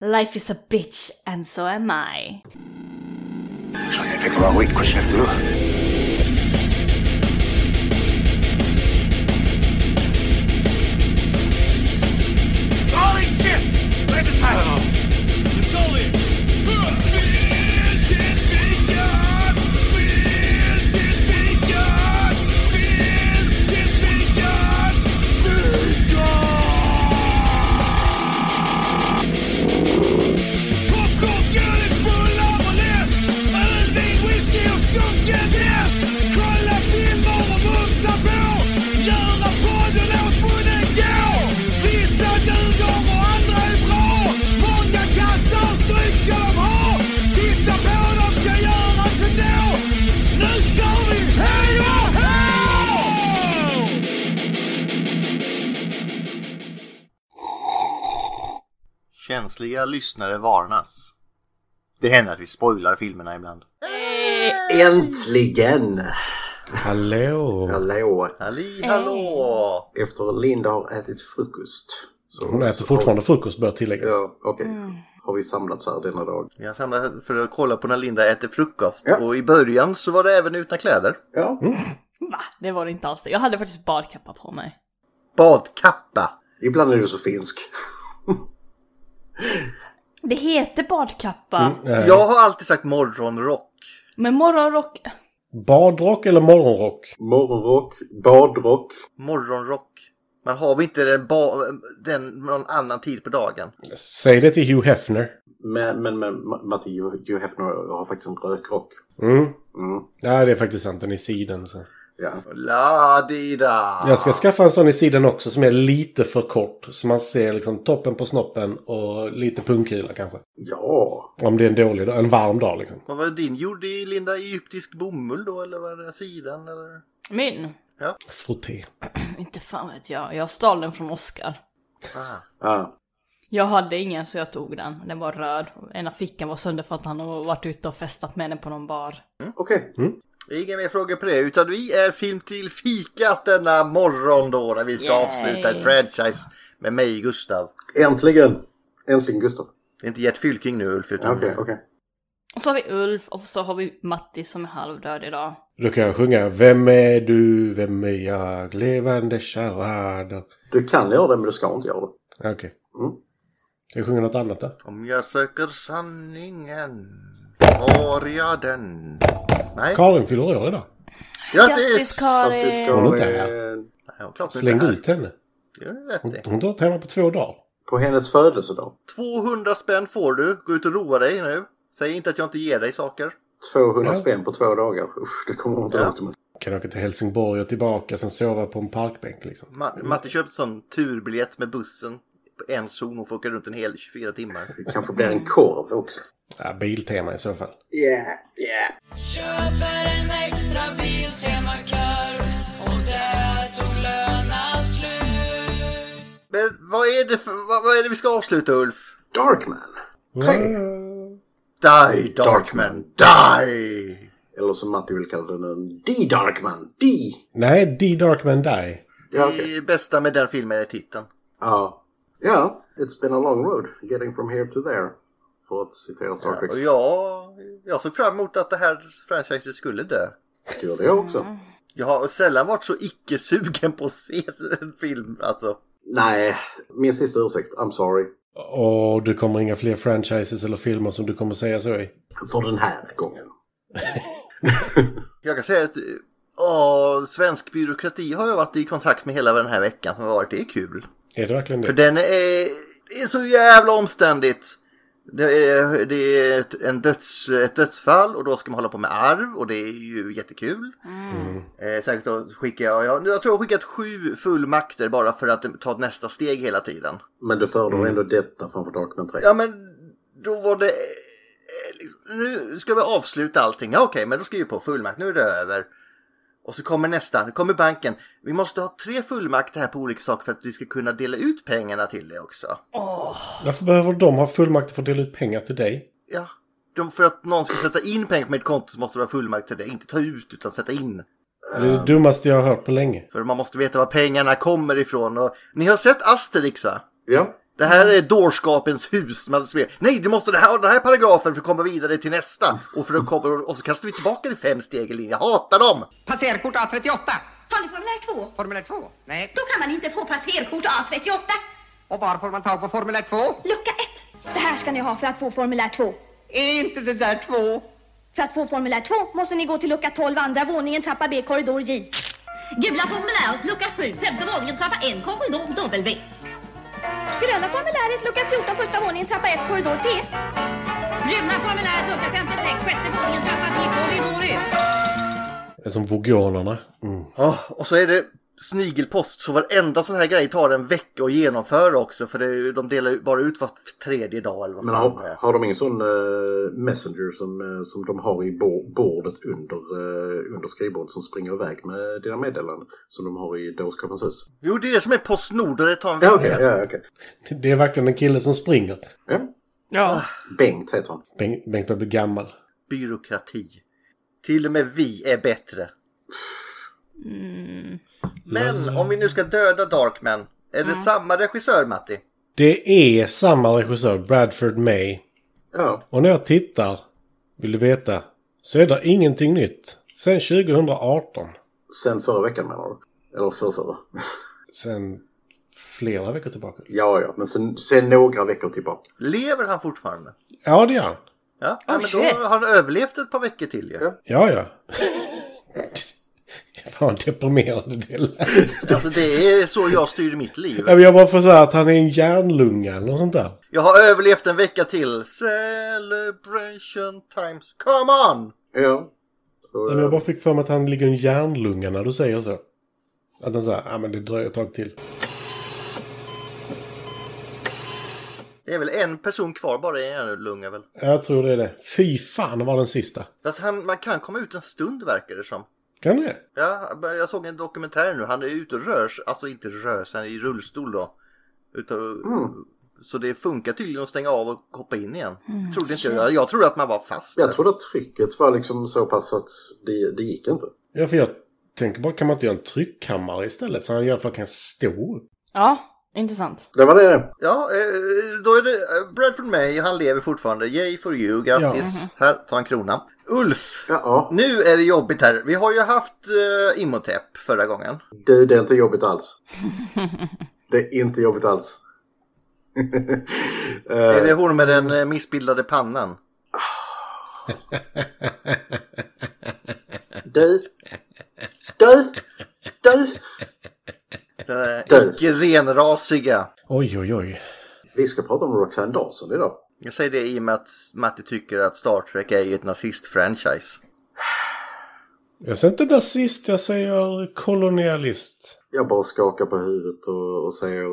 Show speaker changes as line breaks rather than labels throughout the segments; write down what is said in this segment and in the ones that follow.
Life is a bitch and so am I.
Sono il regolamento qui, questo è il blu.
Holy shit! Where's the Tylenol? It's all in. Kolla filmer och mumsa på! Göra podden åt munnen gå! Vissa duger och andra är bra! Många kassar stryk ska de ha! Titta på dem, ska göra så då! Nu kör vi! Hej och hå!
Känsliga lyssnare varnas. Det händer att vi spoilar filmerna ibland.
Eh. Äntligen!
Hallå!
Hallå!
Halli hallå!
Efter Linda har ätit frukost. Så
Hon äter fortfarande frukost bör tilläggas.
Ja, okej. Har vi samlats här denna dag?
Vi har samlats för att kolla på när Linda äter frukost.
Ja.
Och i början så var det även utan kläder.
Ja.
Va? Det var det inte alls. Jag hade faktiskt badkappa på mig.
Badkappa!
Ibland är du så finsk.
Det heter badkappa.
Eh,
Jag har alltid sagt morgonrock.
Men morgonrock...
Badrock eller morgonrock?
Morgonrock, badrock.
Morgonrock. Man har väl inte den, ba- den någon annan tid på dagen?
Säg det till Hugh Hefner.
Men, men, men Ma- Matti, Hugh Hugh Hefner har faktiskt en rökrock.
Mm.
Mm.
Nej, det är faktiskt sant. Den i siden. Så.
Ja.
La-di-da!
Jag ska skaffa en sån i siden också som är lite för kort. Så man ser liksom toppen på snoppen och lite pungkula kanske.
ja.
Om det är en dålig dag, en varm dag liksom.
Vad var din gjord i Linda? Egyptisk bomull då eller var det sidan eller?
Min?
Frotté.
Inte fan vet jag. Jag stal den från Oscar.
Ah.
Ah.
Jag hade ingen så jag tog den. Den var röd. Ena fickan var sönder för att han har varit ute och festat med den på någon bar.
Okej.
Inga mer frågor på det, utan vi är film till fikat denna morgon då när vi ska
Yay.
avsluta ett franchise med mig, Gustav.
Äntligen! Äntligen Gustav.
Det är inte Gert Fylking nu Ulf,
Ja,
utan
Okej, okej.
Och så har vi Ulf och så har vi Matti som är halvdöd idag.
Då kan jag sjunga Vem är du, vem är jag, levande charader.
Du kan göra det men du ska inte göra det.
Okej.
Mm.
Ska jag sjunga något annat då?
om jag söker sanningen har jag den. Nej,
Karin fyller år idag.
Grattis
Grattis,
Karin!
Hon är inte
Karin.
Ja, klart du inte
Slängde
är
ut henne.
här. Gör du rätt
Hon
i.
hon har inte varit hemma på två dagar.
På hennes födelsedag.
200 spänn får du. Gå ut och roa dig nu. Säg inte att jag inte ger dig saker.
200
Ja.
spänn på två dagar. Usch, det kommer hon inte
Ja.
långt med.
Kan åka till Helsingborg och tillbaka, sen sova på en parkbänk liksom.
Ma- Matte köpte sån turbiljett med bussen. På en zon och får åka runt en hel 24 timmar.
Det kanske blir en korv också.
Ja, biltema i så fall.
Yeah, yeah.
Köper en extra bil, Temakör och där tog löna slut
Men vad är det, för, vad, vad är det vi ska avsluta Ulf?
Darkman. Tre.
Die Darkman, die!
Eller som Matti vill kalla den, The Darkman. The.
Nej, The Dark Man Die.
Ja, okej.
Det bästa med den filmen är titeln.
Ja. Ja, it's been a long road getting from here to there. För att citera Star
Och
Trek.
jag, jag såg fram emot att det här franchiset skulle dö.
Det gör det också.
Jag har sällan varit så icke sugen på att se en film alltså.
Nej, min sista ursäkt. I'm sorry.
Och du kommer inga fler franchises eller filmer som du kommer säga så i?
För den här gången.
Jag kan säga att eh, åh, svensk byråkrati har jag varit i kontakt med hela den här veckan som har varit. Det är kul.
Är det verkligen det?
För den är, är så jävla omständigt. Det är, det är ett, en döds, ett dödsfall och då ska man hålla på med arv och det är ju jättekul. Eh, särskilt då skickar jag, jag, jag tror jag har skickat sju fullmakter bara för att ta nästa steg hela tiden.
Men du föredrar ändå detta framför Darkman 3.
Ja men då var det, eh, liksom, nu ska vi avsluta allting, ja, okej men då skriver vi på fullmakt, nu är det över. Och så kommer nästa, nu kommer banken. Vi måste ha tre fullmakter här på olika saker för att vi ska kunna dela ut pengarna till det också.
Varför behöver de ha fullmakter för att dela ut pengar till dig?
Ja. De, för att någon ska sätta in pengar på mitt konto så måste du ha fullmakt till det. Inte ta ut utan sätta in.
Det är det dummaste jag har hört på länge.
För man måste veta var pengarna kommer ifrån. Och, ni har sett Asterix va?
Ja.
Det här är dårskapens hus. Man spelar. Nej, du måste ha den här, den här paragrafen för att komma vidare till nästa. Och, för att komma, och så kastar vi tillbaka det fem steg i linje. Jag hatar dem!
Passerkort A38.
Har ni formulär 2?
Formulär 2? Nej.
Då kan man inte få passerkort A38.
Och var får man tag på formulär 2?
Lucka 1. Det här ska ni ha för att få formulär 2.
Är inte det där 2?
För att få formulär 2 måste ni gå till lucka 12, andra våningen, trappa B, korridor J. Gula formuläret, lucka 7, femte våningen, trappa 1, korridor W. Gröna formuläret, lucka 14, första våningen, trappa 1, korridor T. Bruna formuläret, lucka 56, sjätte våningen, trappa 3, korridor Ö.
Det är som vogonerna. Mm.
Ja, och så är det snigelpost, så varenda sån här grej tar en vecka att genomföra också. För det, är ju- de delar ju bara ut var tredje dag eller vad
Men
fan det
har,
är.
har de ingen sån eh, messenger som, eh, som de har i bo- bordet under, eh, under skrivbordet som springer iväg med dina meddelanden? Som de har i Dårskapens hus?
Jo, det är det som är Postnord och det tar en vecka.
Ja, okej. ja, okay.
Det är verkligen en kille som springer.
ja.
Ja.
Bengt heter han.
Bengt Bengt börjar bli gammal.
Byråkrati. Till och med vi är bättre.
Mm.
Men om vi nu ska döda Darkman, är det samma regissör Matti?
Det är samma regissör, Bradford May.
Ja.
Och när jag tittar, vill du veta, så är det ingenting nytt. Sen 2018.
Sen förra veckan menar du? Eller förrförra?
Sen flera veckor tillbaka.
ja, ja. Men sen, sen några veckor tillbaka.
Lever han fortfarande?
Ja, det gör han.
Ja,
Oh,
ja men
shit.
då har han överlevt ett par veckor till ju.
Ja, ja. Fan, deprimerande det lät.
Alltså det är så jag styr mitt liv.
Ja, men Jag bara får säga att han är en järnlunga eller något sånt där.
Jag har överlevt en vecka till. Celebration times. Come on!
Ja. Så,
Men jag bara fick för mig att han ligger i en järnlunga när du säger så. Att han säger, ja men det dröjer ett tag till.
Det är väl en person kvar bara i en lunga väl?
Ja, Jag tror det är det. Fy fan var den sista.
Fast han, man kan komma ut en stund verkar det som.
Kan det?
Ja, jag såg en dokumentär nu. Han är ute och rör sig. Alltså inte rör sig, han är i rullstol då. Utan,
eh, mm.
Så det funkar tydligen att stänga av och hoppa in igen. Trodde inte jag. Jag trodde att man var fast.
jag
där.
trodde att trycket var liksom så pass att det, det gick inte.
Ja, för jag tänker bara, kan man inte göra en tryckkammare istället? Så han i alla fall kan stå upp.
Ja, intressant.
Det var det.
Ja, eh, då är det eh, Bradford May, han lever fortfarande. Yay for you, grattis. Här, ta en krona. Ulf,
Ja, ja.
nu är det jobbigt här. Vi har ju haft uh, Imhotep förra gången.
Du, det är inte jobbigt alls. det är inte jobbigt alls. Eh,
Är det hon med den eh, missbildade pannan?
Du! Du! Du!
Den där
Den.
icke renrasiga.
Oj, oj, oj.
Vi ska prata om Roxanne Dawson idag.
Jag säger det i och med att Matti tycker att Star Trek är ju ett nazist-franchise.
Jag säger inte nazist, jag säger kolonialist.
Jag bara skakar på huvudet och, och säger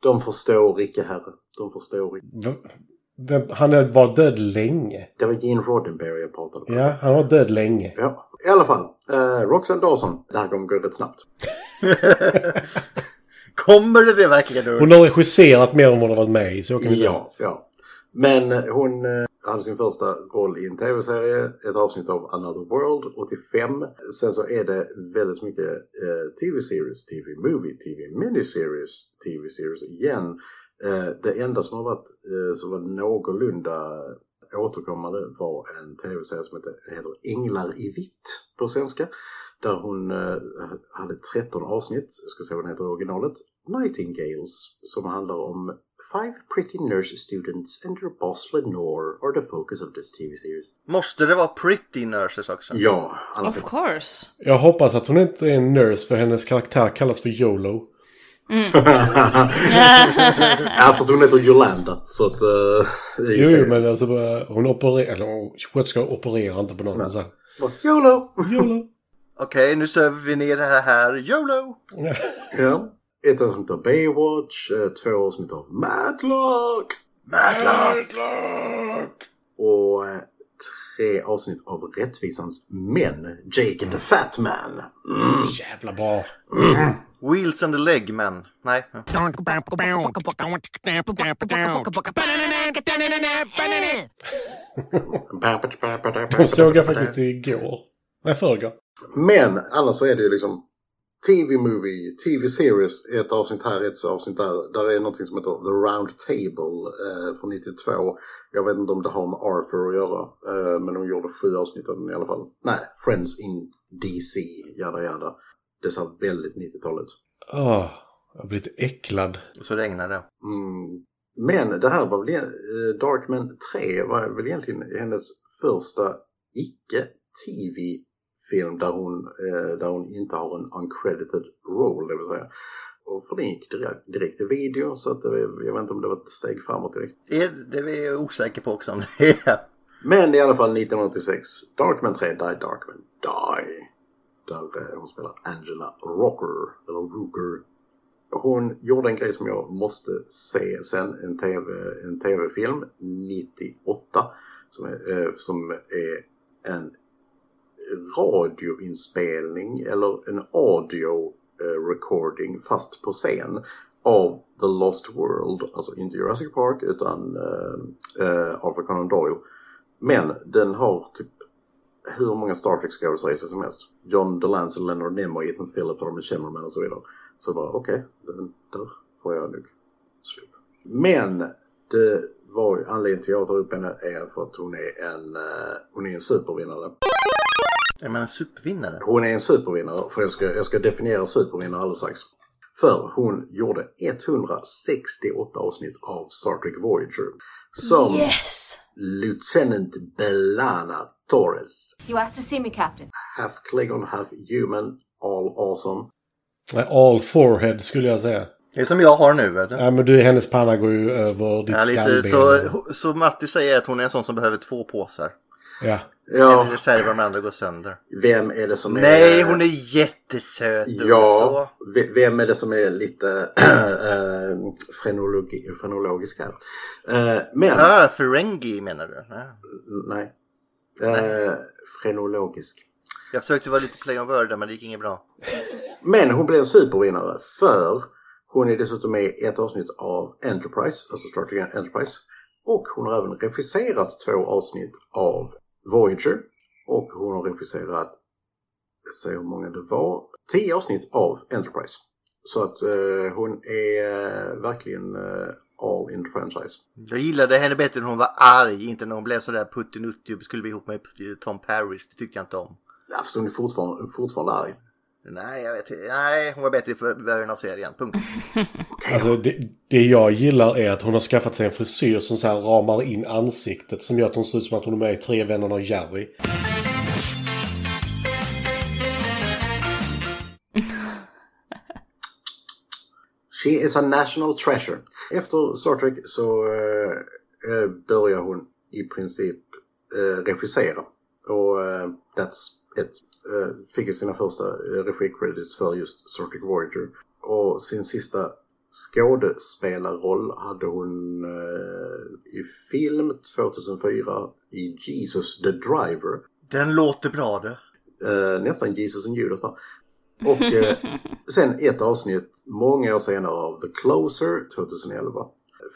de förstår icke herre. De förstår icke.
V- Vem, han är- var död länge.
Det var Gene Roddenberry jag pratade med.
Ja, han var död länge.
Ja, i alla fall. Eh, Roxanne Dawson. Det här kommer gå rätt snabbt.
Kommer det det verkligen Ulf?
Hon har regisserat mer än vad hon har varit med i, så kan vi säga.
Ja, ja. Men hon eh, hade sin första roll i en tv-serie, ett avsnitt av Another World 85. Sen så är det väldigt mycket eh, tv-series, tv-movie, tv-miniseries, tv-series igen. Eh, det enda som har varit eh, som var någorlunda återkommande var en tv-serie som heter, heter Änglar i vitt på svenska. Där hon eh, hade 13 avsnitt, jag ska se vad den heter i originalet, Nightingales, som handlar om Five pretty nurse students and their boss Lenore are the focus of this TV series.
Måste det vara pretty nurses också?
Ja, annars...
Of course.
Jag hoppas att hon inte är en nurse, för hennes karaktär kallas för YOLO.
ja, fast hon heter Yolanda, så att... Uh,
Jo, jo, men alltså bara- hon opererar, eller hon- sköterskor opererar inte på någon. Men. Så här,
YOLO!
YOLO!
Okej, nu söver vi ner det här här. YOLO!
Ja. Ett avsnitt av Baywatch, eh, två avsnitt av Matlock! Matlock! Och eh, tre avsnitt av Rättvisans män, Jake and the Fat Man. Mm.
Jävla bra!
Wheels and the leg men. Nej.
Hon såg jag faktiskt igår. Nej, förrgår.
Men annars så är det ju liksom TV-movie, TV-series, ett avsnitt här, ett avsnitt där. Där är någonting som heter The Round Table eh, från 92. Jag vet inte om det har med Arthur att göra, eh, men de gjorde sju avsnitt av den i alla fall. Nej, Friends in DC, jada jada. Det ser väldigt 90-tal ut.
Åh, Ah, jag har blivit äcklad.
Och så regnar det.
Mm. Men det här var väl eh, Darkman 3 var väl egentligen hennes första icke-tv-film där hon, eh, där hon inte har en uncredited roll, det vill säga. Och för den gick direkt, direkt till video så att det, var- jag vet inte om det var ett steg framåt direkt.
Är, det är jag osäker på också om det är.
Men i alla fall 1986, Darkman 3, Die Darkman Die. Där eh, hon spelar Angela Rocker, eller Rooker. Hon gjorde en grej som jag måste se sen, en, TV, en tv-film 98 som är, eh, som är en radioinspelning eller en audio eh, recording fast på scen av The Lost World, alltså inte Jurassic Park utan eh, eh, Arthur Conan Doyle. Men den har typ hur många Star Trek skådespelare som helst. John Delancey, Leonard Nimoy, Ethan Phillips, Robin Shimmerman och så vidare. Så bara okej, den där får jag nog släpp. Men det var anledningen till att jag tar upp henne är för att hon är en, eh, hon är en supervinnare.
Är man en supervinnare?
Hon är en supervinnare, för jag ska, jag ska definiera supervinnare alldeles strax. För hon gjorde 168 avsnitt av Star Trek Voyager. Som
Yes!
Lieutenant Belana Torres.
You asked to see me, Captain.
half Klingon, half human, all awesome.
Nej, All forehead skulle jag säga.
Det är som jag har nu. Vet du?
Nej, men du, hennes panna går ju över ditt
Ja, lite,
skallben.
så, så Matti säger att hon är en sån som behöver två påsar.
Ja.
En i
Ja,
reserv om den andra går sönder.
vem är det som är...
Nej, hon är jättesöt. och
Ja,
så.
ve- vem är det som är lite eh, frenologi, frenologisk här? Eh, men,
Ah, Ferengi menar du? Nej.
nej. Eh, frenologisk.
Jag försökte vara lite play on word där, men det gick inget bra.
Men hon blev en supervinnare för hon är dessutom med i ett avsnitt av Enterprise, alltså Star Trek Enterprise. Och hon har även regisserat två avsnitt av Voyager. Och hon har regisserat, jag säger hur många det var, tio avsnitt av Enterprise. Så att eh, hon är eh, verkligen eh, all in the franchise.
Jag gillade henne bättre när hon var arg, inte när hon blev sådär puttinuttig och skulle bli ihop med Tom Paris. Det tyckte jag inte om.
Ja, fast hon är fortfarande, fortfarande arg.
Nej, jag vet inte. Nej, hon var bättre i början av serien. Punkt.
Alltså, det, det jag gillar är att hon har skaffat sig en frisyr som så här ramar in ansiktet. Som gör att hon ser ut som att hon är med i Tre vännerna och Jerry.
She is a national treasure. Efter Star Trek så eh, eh, börjar hon i princip eh, regissera. Och eh, that's it. Eh, fick ju sina första eh, regicredits för just Star Trek Voyager. Och sin sista skådespelarroll hade hon eh, i film 2004 i Jesus the Driver.
Den låter bra du.
Eh, nästan Jesus and Judas där. Och eh, sen ett avsnitt många år senare av The Closer 2011.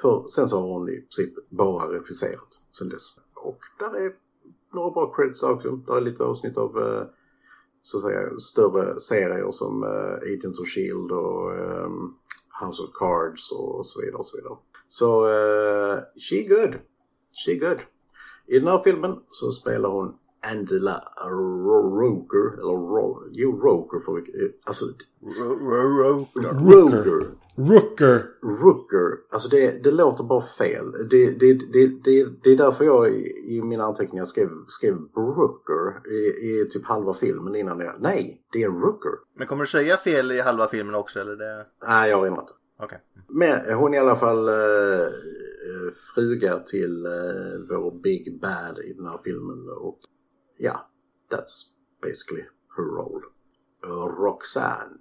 För sen så har hon i princip bara regisserat sen dess. Och där är några bra credits också. Där är lite avsnitt av eh, så att säga större serier som eh, Agents of Shield och ehm, House of Cards och så vidare. Och så vidare. Så eh, she good. She good. I den här filmen så spelar hon Angela Ro- Roger, eller Ro- jo, Roger för eh, alltså
Roker.
Roger,
Rooker!
Rooker, alltså det, det låter bara fel. Det, det, det, det, det är därför jag i, i mina anteckningar skrev, skrev Brooker i, i typ halva filmen innan jag, nej, det är Rooker.
Men kommer du säga fel i halva filmen också eller? Det...
Nej, jag erinrar inte.
Okej.
Men hon är i alla fall eh, eh, fruga till eh, vår Big Bad i den här filmen. Och ja, that's basically her role. Roxanne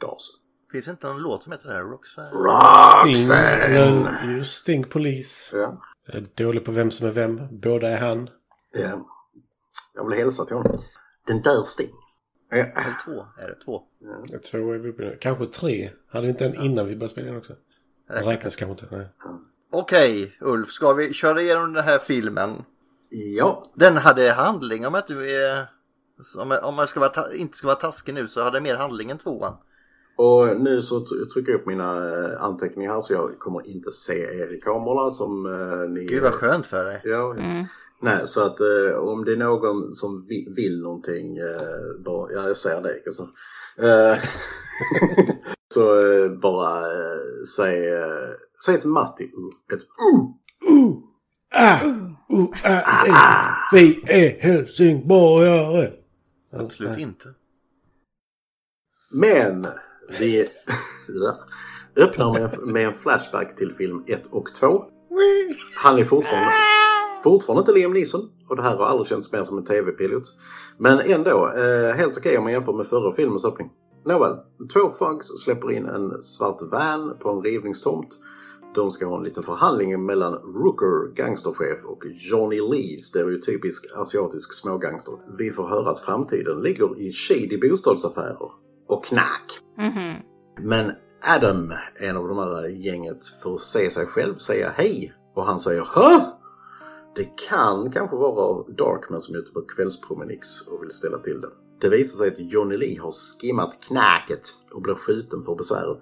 Dawson.
Finns det inte någon låt som heter det här? Roxanne?
Sting.
Roxanne!
Eller, ju, Sting Polis.
Ja.
Jag är dålig på vem som är vem. Båda är han.
Eh, Jag vill hälsa till honom. Den där Sting. Eh,
Eller två? Är det två?
Eh, Två är vi uppe nu. Kanske tre. Hade vi inte en innan vi började spela in också? Den räknas kanske inte. Nej.
Okej Ulf, ska vi köra igenom den här filmen?
Ja,
Den hade handling om att du är... Så om, jag- om man ska vara ta- inte ska vara taskig nu så hade jag mer handling än tvåan.
Och nu så t- trycker jag upp mina eh, anteckningar här så jag kommer inte se er i kamerorna som eh, ni...
Gud vad skönt för dig.
Ja, ja. Nej, så att eh, om det är någon som vi, vill någonting, eh, bara, ja jag säger det. Så, eh, så eh, bara eh, säg, eh, säg ett Matti, uh, ett uh.
Ah, uh, ah, eh, vi är helsingborgare.
Absolut inte.
Men vi öppnar med, en- med en flashback till film 1 och 2. Han är fortfarande, fortfarande inte Liam Neeson och det här har aldrig känts mer som en tv-pilot. Men ändå, eh, helt okej om man jämför med förra filmens öppning. Nåväl, två funks släpper in en svart van på en rivningstomt. De ska ha en liten förhandling mellan Rooker, gangsterchef, och Johnny Lee, stereotypisk asiatisk smågangster. Vi får höra att framtiden ligger i shady bostadsaffärer och knack.
Mhm.
Men Adam, en av de här gänget, får se sig själv säga hej. Och han säger Hö? Det kan kanske vara Darkman som är ute på kvällspromenix och vill ställa till det. Det visar sig att Johnny Lee har skimmat knäket och blir skjuten för besväret.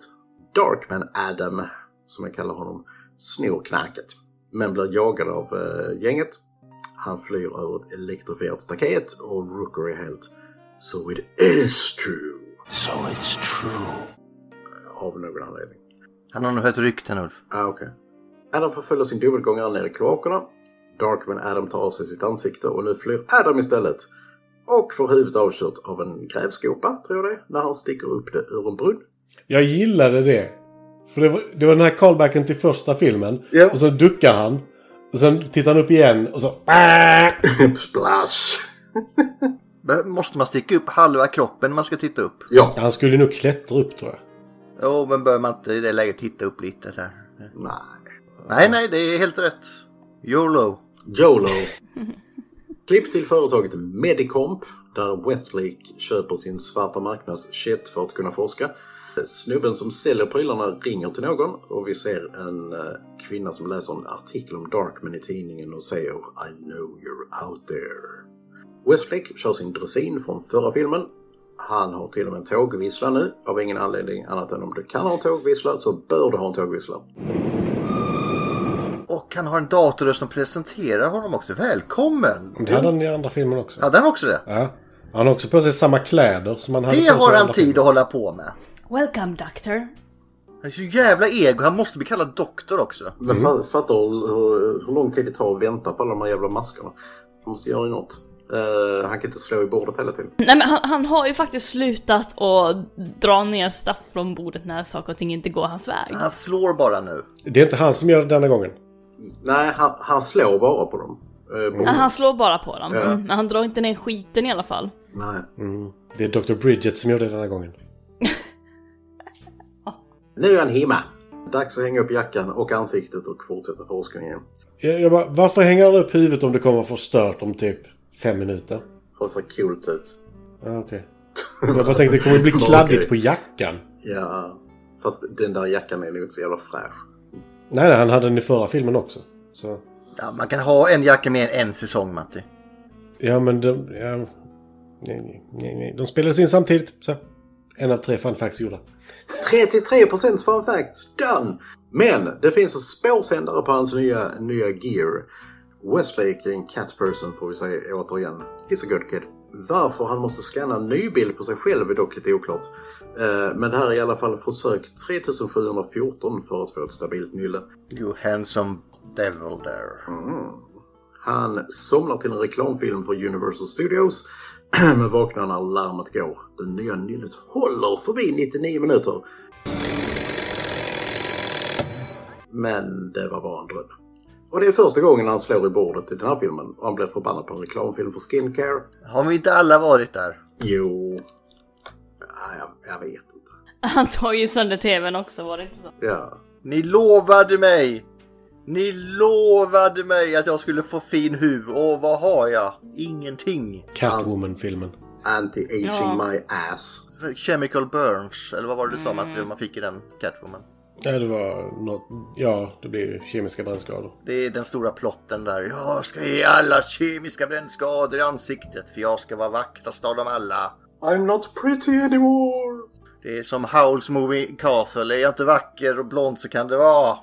Darkman Adam, som jag kallar honom, snor knäket. Men blir jagad av eh, gänget. Han flyr över ett elektrifierat staket och Rooker är helt So it is true!
So it's true.
Av någon anledning.
Han har nog hört rykten Ulf.
Ah, okay. Adam förföljer sin dubbelgångare ner i kloakerna. Darkman Adam tar av sig sitt ansikte och nu flyr Adam istället. Och får huvudet avkört av en grävskopa, tror jag det är, när han sticker upp det ur en brunn.
Jag gillade det. För det var, det var den här callbacken till första filmen.
Ja.
Och sen duckar han. Och sen tittar han upp igen och så... Ah!
Splash!
Men Måste man sticka upp halva kroppen när man ska titta upp?
Ja.
Han skulle nog klättra upp tror jag.
Jo, men bör man inte i det läget titta upp lite där?
Nej.
Nej, nej, det är helt rätt. YOLO.
YOLO! Klipp till företaget Medicomp där Westlake köper sin svarta marknads-shit för att kunna forska. Snubben som säljer prylarna ringer till någon och vi ser en eh, kvinna som läser en artikel om Darkman i tidningen och säger I know you're out there. Westlake kör sin dressin från förra filmen. Han har till och med en tågvissla nu. Av ingen anledning annat än om du kan ha en tågvissla så bör du ha en tågvissla.
Och han har en datorröst som presenterar honom också. Välkommen!
Det hade han i andra filmen också.
Hade Mm. han också det?
Ja. Han har också på sig samma kläder som han hade på
Det
sig i
har han
andra
tid
filmen.
att hålla på med.
Welcome doctor.
Han är så jävla ego. Han måste bli kallad doktor också.
Men mm. fattar du hur, hur lång tid det tar att vänta på alla de här jävla maskerna? Han måste göra något. Eh, han kan inte slå i bordet hela tiden.
Nej men han, han har ju faktiskt slutat att dra ner staff från bordet när saker och ting inte går hans väg.
Han slår bara nu.
Det är inte han som gör det denna gången.
Nej, han, han slår bara på dem. Eh, på-
Nej, Han slår bara på dem.
Ja.
Mm, Men han drar inte ner skiten i alla fall.
Nej.
Det är Dr. Bridget som gör det denna gången.
Nu är han hemma. Dags att hänga upp jackan och ansiktet och fortsätta forskningen.
Jag, jag bara, varför hänger han upp huvudet om det kommer att få stört om typ fem minuter?
För att se coolt ut.
Ja, okej. Jag bara tänkte det kommer att bli
Okej.
kladdigt på jackan.
Ja, fast den där jackan är nog inte så jävla fräsch.
Nej, nej, han hade den i förra filmen också. Så,
Ja, man kan ha en jacka mer än en säsong, Matti.
ja, men de... Ja, nej, nej, nej, nej. De spelades in samtidigt. Så. En av tre fun facts gjorda.
33% fun fact! Done! Men det finns en spårsändare på hans nya, nya gear. Westlake är en cat person får vi säga återigen. He's a good kid. Varför han måste scanna en ny bild på sig själv är dock lite oklart. Eh, Men det här är i alla fall försök 3714 för att få ett stabilt nylle.
You handsome devil there.
Han somnar till en reklamfilm för Universal Studios men vaknar när larmet går. Det nya nyllet håller förbi 99 minuter. Men det var bara en dröm. Och det är första gången han slår i bordet i den här filmen och han blir förbannad på en reklamfilm för skincare.
Har vi inte alla varit där?
Jo... Ja, jag, jag vet inte.
Han tar ju sönder tvn också, var det inte så?
Ja.
Ni lovade mig! Ni lovade mig att jag skulle få fin huv och vad har jag? Ingenting.
Catwoman-filmen.
Anti-aging
Ja.
my ass.
Chemical burns, eller vad var det du sa att man fick i den Catwoman?
Nej, det var något... Ja, det blir kemiska brännskador.
Det är den stora plotten där. Jag ska ge alla kemiska brännskador i ansiktet för jag ska vara vackrast av dem alla.
I'm not pretty anymore!
Det är som Howls Moving Castle. Är jag inte vacker och blond så kan det vara.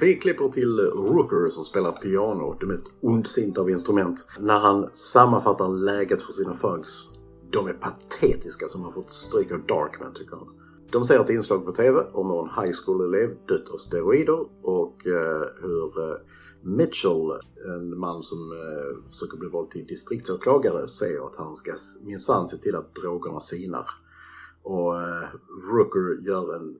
Vi klipper till Rooker som spelar piano, det mest ondsinta av instrument, när han sammanfattar läget för sina thugs. De är patetiska som har fått stryk av Darkman, tycker han. De ser ett inslag på TV om hur en high school-elev dött av steroider och eh, hur eh, Mitchell, en man som eh, försöker bli vald till distriktsåklagare, säger att han ska s- minsann se till att drogerna sinar. Och eh, Rooker gör en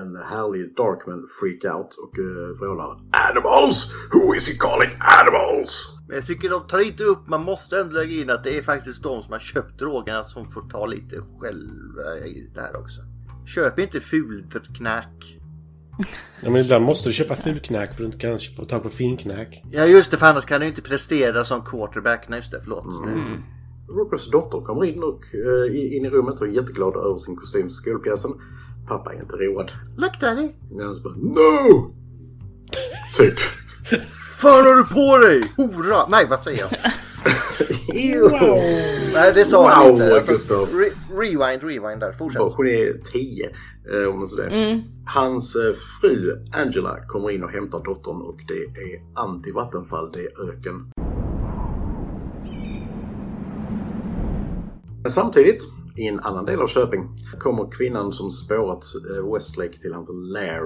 en härlig Darkman freakout och uh, vrålar Animals! Who is he calling animals?
Men jag tycker de tar inte upp, man måste ändå lägga in att det är faktiskt de som har köpt drogerna som får ta lite själva i det här också. Köp inte fulknäck.
Ja, men ibland måste du köpa fulknäck för att du inte kan få tag på finknäck.
Ja just det, för annars kan du inte prestera som quarterback. Nej just det, förlåt.
Rookers dotter kommer in, och, eh, i- in i rummet och är jätteglad över sin kostym till skolpjäsen. Pappa är inte road.
Look daddy!
Men så bara NO! typ.
Fan har du på dig? Hora! Nej vad säger jag? Nej det sa han
Wow,
inte. Jag får-
Gustav.
Re- rewind, rewind där. Fortsätt.
Hon är 10 eh, om man säger det. Hans eh, fru Angela kommer in och hämtar dottern och det är anti-vattenfall, det är öken. Men Samtidigt, i en annan del av Köping, kommer kvinnan som spårat eh, Westlake till hans lair.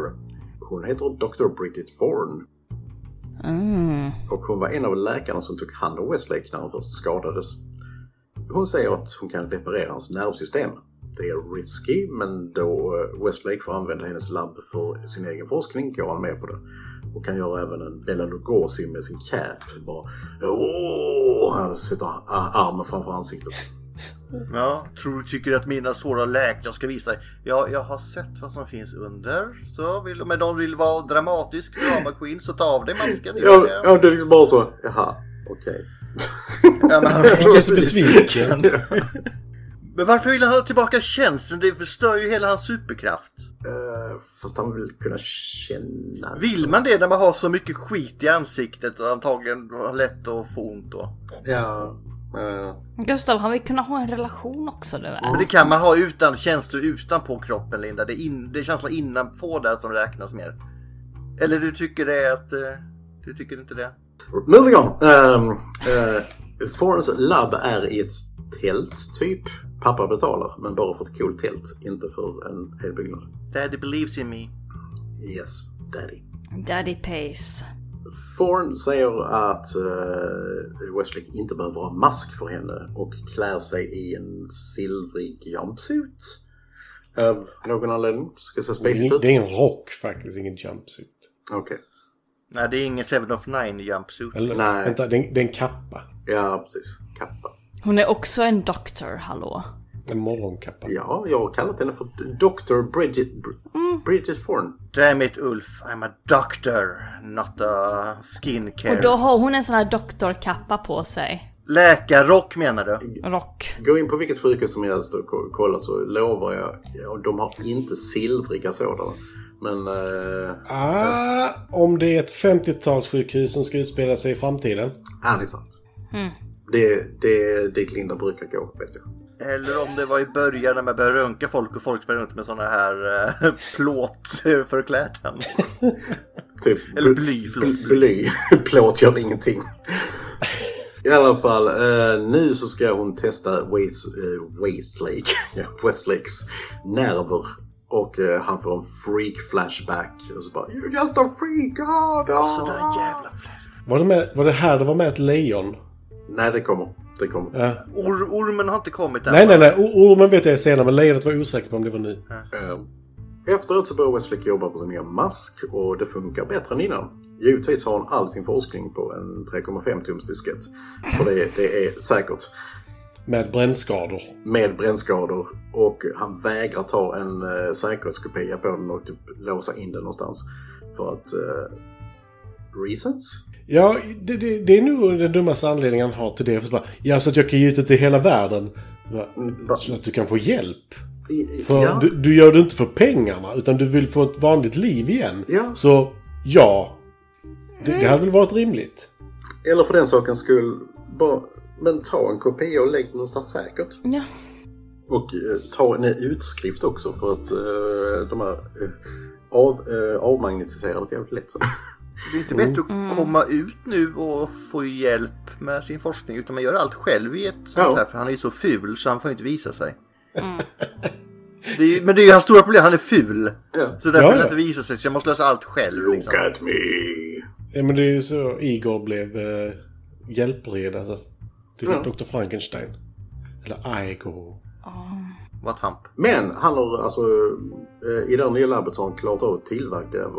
Hon heter Dr. Bridget Thorne. Och hon var en av läkarna som tog hand om Westlake när han först skadades. Hon säger att hon kan reparera hans nervsystem. Det är risky, men då eh, Westlake får använda hennes labb för sin egen forskning går han med på det. Och kan göra även en Bela Lugosi med sin cap. Bara, Åh! Han sätter a- armen framför ansiktet.
Ja, tror du tycker att mina sår har läkt? Jag ska visa dig. Ja, jag har sett vad som finns under. Så vill, men de vill vara dramatisk drama queen så ta av dig masken. gör
Ja,
det.
ja, det är liksom bara så. Jaha, okej.
Ja, men han är
Jag är så besviken.
Men varför vill han ha tillbaka känslan? Det förstör ju hela hans superkraft.
Eh, Fast han vill kunna känna...
Vill man det när man har så mycket skit i ansiktet och antagligen har lätt att få ont då?
Ja. eh,
Gustav, han vill kunna ha en relation också du
Men
väl?
det kan man ha utan känslor utanpå kroppen Linda. Det är, in, det är känslan innanpå där som räknas mer. Eller du tycker det är att... eh, Du tycker inte det?
Moving on. Um, eh, Forens labb är i ett tält, typ. Pappa betalar, men bara för ett coolt tält. Inte för en hel byggnad.
Daddy believes in me.
Yes, daddy.
Daddy Pace.
Forn säger att uh, Westlake inte behöver ha mask för henne och klär sig i en silvrig jumpsuit. Av någon anledning. Ska se
Det
spacet
är
ut.
det är en rock faktiskt, ingen jumpsuit.
Okej.
Nej, det är ingen Seven of Nine jumpsuit.
Eller,
Nej.
vänta, det är, en- det är en kappa.
Ja, precis. Kappa.
Hon är också en doktor, hallå.
En morgonkappa.
Ja, jag har kallat henne för Dr. Bridget, Br- Bridget Forn.
Damn it Ulf, I'm a doctor, not a skincare.
Och då har hon en sån här doktorkappa på sig.
Läkarrock menar du?
Rock.
Gå in på vilket sjukhus som helst och ko- kolla så lovar jag, ja, de har inte silvriga sådana. Men eh,
Ah, om det är ett 50-talssjukhus som ska utspela sig i framtiden.
ärligt sant. Det, det, det Glinda brukar gå vet jag.
Eller om det var i början när man började röntga folk och folk sprang runt med såna här eh, plåtförkläden.
Typ,
Eller bly, förlåt.
bl- Bly. Plåt gör ingenting. I alla fall, eh, nu så ska hon testa Waste, eh, Wastelake, ja, Westlakes nerver. Och eh, han får en freak flashback. Och så bara You're just a freak! ah, ah."
Sådär jävla fläsk.
Var det, med, var det här det var med ett lejon?
Nej, det kommer. Det kommer.
Eh,
Or- ormen har inte kommit än.
nej, nej, nej. O- Ormen vet jag är senare, men lejonet var jag osäker på om det var nu.
Eh, Efteråt så börjar Westlake jobba på sin nya mask och det funkar bättre än innan. Givetvis har hon all sin forskning på en 3,5 tums diskett. För det, det är säkert.
Med brännskador.
Med brännskador och han vägrar ta en eh, säkerhetskopia på den och typ låsa in den någonstans. För att... Eh, reasons?
Ja, det, det, det är nog den dummaste anledningen han har till det. För att bara, ja, så att jag kan ge ut det till hela världen. Så bara,
Mm, bra.
Så att du kan få hjälp.
I- i-
För
ja.
du, du gör det inte för pengarna, utan du vill få ett vanligt liv igen.
Ja.
Så, ja. Det, det hade väl varit rimligt?
Eller för den sakens skull, bara, men ta en kopia och lägg den någonstans säkert.
Ja.
Och eh, ta en utskrift också för att eh, de här eh, av, eh, avmagnetiserades jävligt lätt. Så.
Det är inte bättre att komma ut nu och få hjälp med sin forskning utan man gör allt själv i ett sånt
Ja.
här för han är ju så ful så han får ju inte visa sig. Det är, ju- men det är ju hans stora problem, han är ful.
Ja.
Så därför
Ja,
vill han
ja.
inte visa sig så jag måste lösa allt själv. Liksom.
at me!
Ja, men det är ju så Igor blev eh, hjälpred, alltså. Till
Ja.
Dr. Frankenstein. Eller Igor.
Vad tamp.
Men han har alltså eh, i det här nya labbet så har han klarat av att tillverka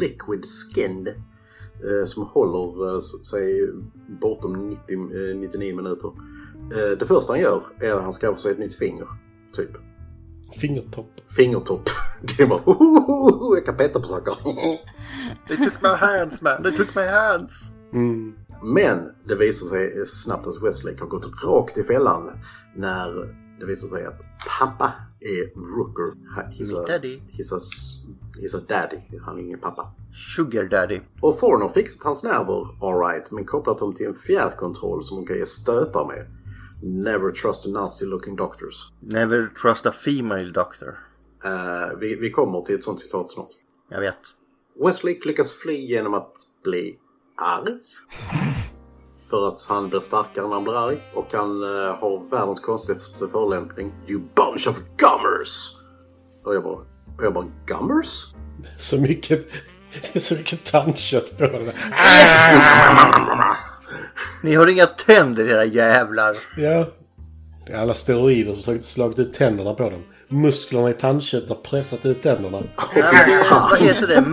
liquid skin eh, som håller eh, sig bortom 90, eh, 99 minuter. Eh, det första han gör är att han skaffar sig ett nytt finger. Typ.
Fingertopp.
Fingertopp. Det är bara "Hohoho, jag kan peta på saker.
They took my hands man, they took my hands.
Mm.
Men det visar sig snabbt att Westlake har gått rakt i fällan när det visar sig att pappa är Rooker. He's a,
Mitt daddy.
He's a, s- he's a daddy. Han är ingen pappa.
Sugar daddy.
Och Thorne har fixat hans nerver, alright, men kopplat dem till en fjärrkontroll som hon kan ge stötar med. Never trust Nazi looking doctors.
Never trust a female doctor.
Eh, vi, vi kommer till ett sånt citat snart.
Jag vet.
Westlake lyckas fly genom att bli arg. För att han blir starkare när han blir arg. Och han eh, har världens konstigaste förolämpning. You bunch of gummers! Och jag bara, och jag bara gummers?
Så mycket... Det är så mycket tandkött på den.
Ni har inga tänder era jävlar.
Ja. Det är alla steroider som försökt slagit ut tänderna på dem. Musklerna i tandköttet har pressat ut tänderna.
Nej, men, vad heter det?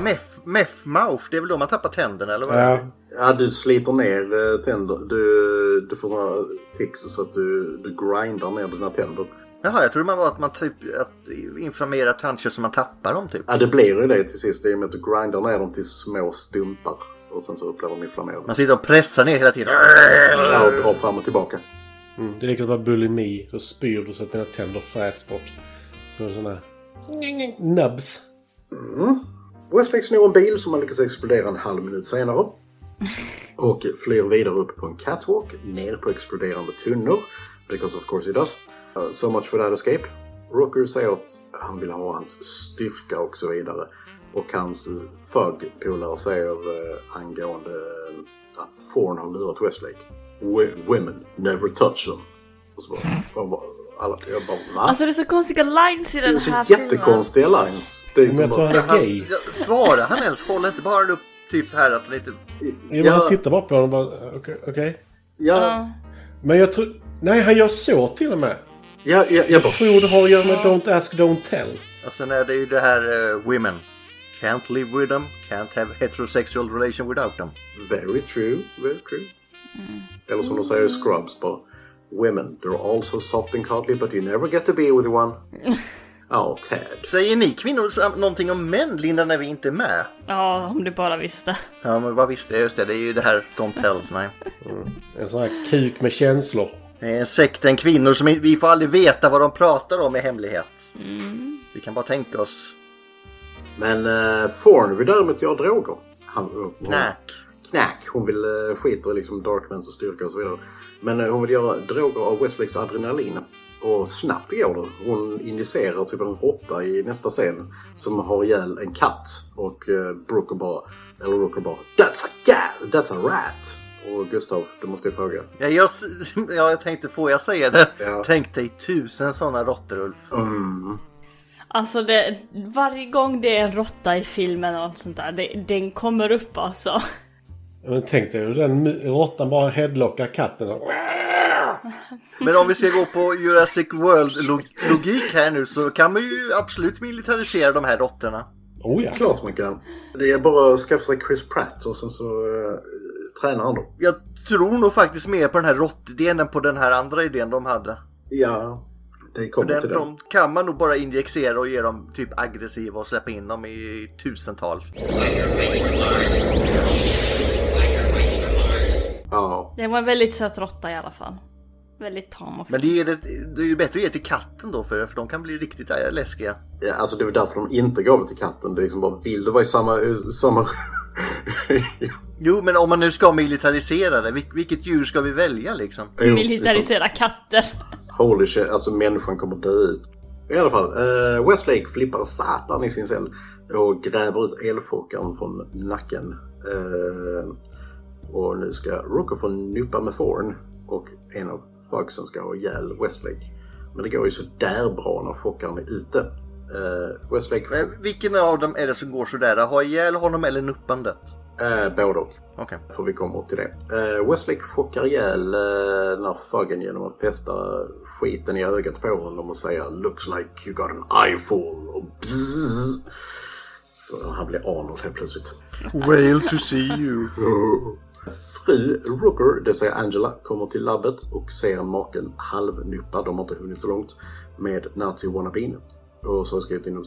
Meff, meff mouth? Det är väl då man tappar tänderna eller vad är det?
Ja.
Ja, du sliter ner eh, tänder. Du, du får några tics så att du, du grindar ner dina tänder.
Jaha, jag trodde man var att man typ att inflammerar tandkött så man tappar dem typ.
Ja, det blir ju det till sist i och med att du grindar ner dem till små stumpar. Och sen så blir de inflammerade.
Man sitter och pressar ner hela tiden.
Ja, och drar fram och tillbaka.
Mm. Det räcker att vara bulimi. Då spyr du så att dina tänder fräts bort. Så är det såna här... Nubbs.
Westlake snor en bil som han lyckas explodera en halv minut senare. Och flyr vidare upp på en catwalk, ner på exploderande tunnor. Because of course he does. Uh, so much for that escape. Rooker säger att han vill ha hans styrka och så vidare. Och hans thug-polare säger eh, angående eh, att Thorne har lurat Westlake. "We- Women, never touch them. Och så bara, och bara, alla, jag bara va?
Alltså det är så konstiga lines i
det är
den
så
här filmen.
jättekonstiga lines. Det är
Men jag
liksom
tror
bara-
han är
Han,
gay.
ja, svara han ens, håller inte bara upp typ så här att han inte...
Jag bara tittar bara på honom och bara... Okej. okej.
ja,
Ja.
Men jag tror... Nej, han gör så till och med.
Ja, ja, jag bara...
Jag tror det har att göra med Don't Ask, Don't Tell.
Och sen är alltså, det ju det här eh, women. Can't live with them, can't have heterosexual relation without them.
Very true, very true. Eller som de säger i Scrubs bara. Women, they're also soft and cuddly but you never get to be with one. Ja, Ted.
Säger ni kvinnor sam- någonting om män, Linda, när vi inte är med?
ja, om du bara visste.
Ja, men vad visste jag? Just det, det är ju det här Don't tell. Nej.
En sån här kuk med känslor.
Det är en sekten kvinnor som i- vi får aldrig veta vad de pratar om i hemlighet. Vi kan bara tänka oss
Men uh, Thorne vill däremot göra droger. Han, hon,
knack.
Knack. Hon vill uh, skita i liksom Darkmans och styrka och så vidare. Men eh, hon vill göra droger av Westlakes adrenalin. Och snabbt går det. Hon injicerar typ en råtta i nästa scen som har ihjäl en katt. Och uh, Brooker bara, eller Rooker bara That's a cat! That's a rat! Och Gustav, du måste ju fråga.
Ja, jag, s- ja, jag tänkte, får jag säga det?
Ja.
Tänk dig tusen sådana råttor, Ulf.
Mm.
Alltså det, varje gång det är en råtta i filmen och något sånt där, det, den kommer upp alltså.
Men tänk dig hur den mu- råttan bara headlockar katten. och-
Men om vi ska gå på Jurassic World-logik här nu så kan man ju absolut militarisera de här råttorna.
Oh ja.
Klart man kan. Det är bara att skaffa sig Chris Pratt och sen så eh, tränar han då.
Jag tror nog faktiskt mer på den här råttidén än på den här andra idén de hade.
Ja, det kommer
Den,
till det.
de kan man nog bara injicera och ge dem typ aggressiva och släppa in dem i tusental.
Ja.
Det var en väldigt söt råtta i alla fall. Väldigt tam och fin.
Men det är, det är ju bättre att ge till katten då för, för de kan bli riktigt äh, läskiga.
Ja, alltså det var därför de inte gav det till katten. Det är liksom bara vill du vara i samma... samma...
Jo, men om man nu ska militarisera det, vil- vilket djur ska vi välja liksom?
Jo,
Militarisera katter.
liksom, Holy shit, alltså människan kommer dö ut. I alla fall, eh, Westlake flippar satan i sin cell och gräver ut elchockaren från nacken. Eh, och nu ska Rocco få nypa med Thorn och en av Foxen ska ha ihjäl Westlake. Men det går ju sådär bra när chockaren är ute. Eh, Westlake...
Eh, Vilken av dem är det som går sådär? Ha ihjäl honom eller nuppandet?
Eh, både och.
Okej.
För vi kommer till det. Eh, Westlake chockar ihjäl eh, den här fuggen genom att fästa skiten i ögat på honom och säga “Looks like you got an eyeful” och bzzz. För Han blir Arnold helt plötsligt.
Whale to see you.
Fru Rooker, det vill säga Angela, kommer till labbet och ser maken halvnuppa, de har inte hunnit så långt, med nazi wannabeen. Och så har jag skrivit inom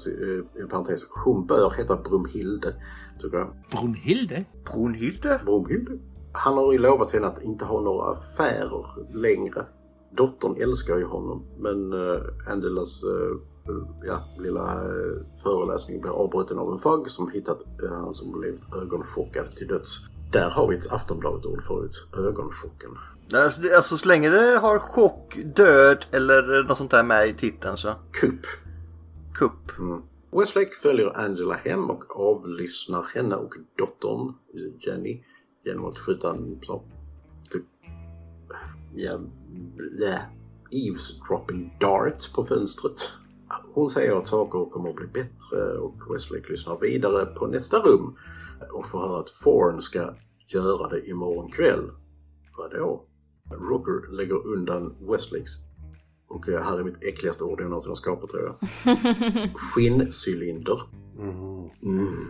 eh, en parentes, hon bör heta Brumhilde, tycker jag.
Brunhilde?
Bromhild. Han har ju lovat henne att inte ha några affärer längre. Dottern älskar ju honom, men eh, Angelas eh, ja, lilla eh, föreläsning blir avbruten av en fagg som hittat eh, han som blivit ögonchockad till döds. Där har vi ett Aftonbladet-ord förut, ögonchocken.
Alltså, det- alltså så länge det har chock, död eller något sånt där med i titeln så.
Kupp.
Kupp.
Mm. Westlake följer Angela hem och avlyssnar henne och dottern Jenny genom att skjuta en sån typ ja, ja, eavesdropping dart på fönstret. Hon säger att saker kommer att bli bättre och Westlake lyssnar vidare på nästa rum och får höra att Thorne ska göra det imorgon kväll. Vadå? Rooker lägger undan Westlakes och eh, här är mitt äckligaste ord jag någonsin har skapat tror jag skinncylinder Mm,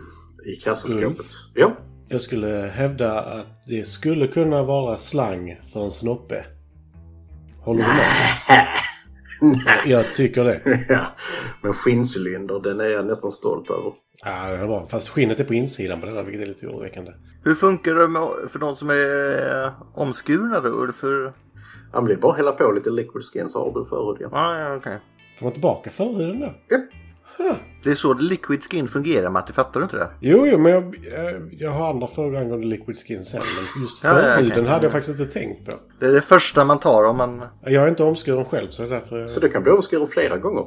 i kassaskåpet.
Mm.
Ja,
Jag skulle hävda att det skulle kunna vara slang för en snoppe. Håller du med? Jag tycker det.
ja. Men skinncylinder, den är jag nästan stolt över.
Ja, det är bra. Fast skinnet är på insidan på den här, vilket är lite oroväckande.
Hur funkar det med, för de som är eh, omskurna då? Eller För,
Han blir bara att hälla på lite liquid skin så har du förhuden. Ja.
ah, ja, okej.
Får man tillbaka förhuden då?
Det är så liquid skin fungerar Matti, fattar du inte det?
Jo, jo, men jag, jag, jag har andra frågor angående liquid skin sen. Men just
Ja, ja,
förhuden
okej.
hade jag faktiskt inte tänkt på.
Det är det första man tar om man...
Jag är inte omskuren själv, så det är därför...
Så du kan bli omskuren flera gånger.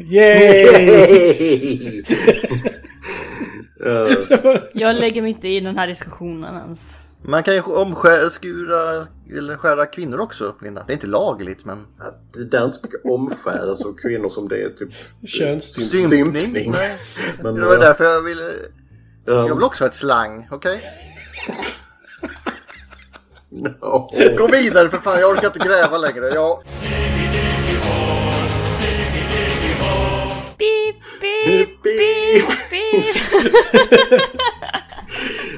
Yay!
Eh,
Jag lägger mig inte i den här diskussionen ens.
Man kan ju omskura eller skära kvinnor också, Linda. Det är inte lagligt men...
det där är inte så mycket omskärelse av kvinnor som det är typ
Könsstympning.
stympning.
Nej.
Men,
Det var
eh,
därför jag ville... Jag
ehm,
vill också ha ett slang, okej?
no.
Gå vidare för fan, jag orkar inte gräva längre. Jag...
Beep, beep,
Beep, beep.
beep.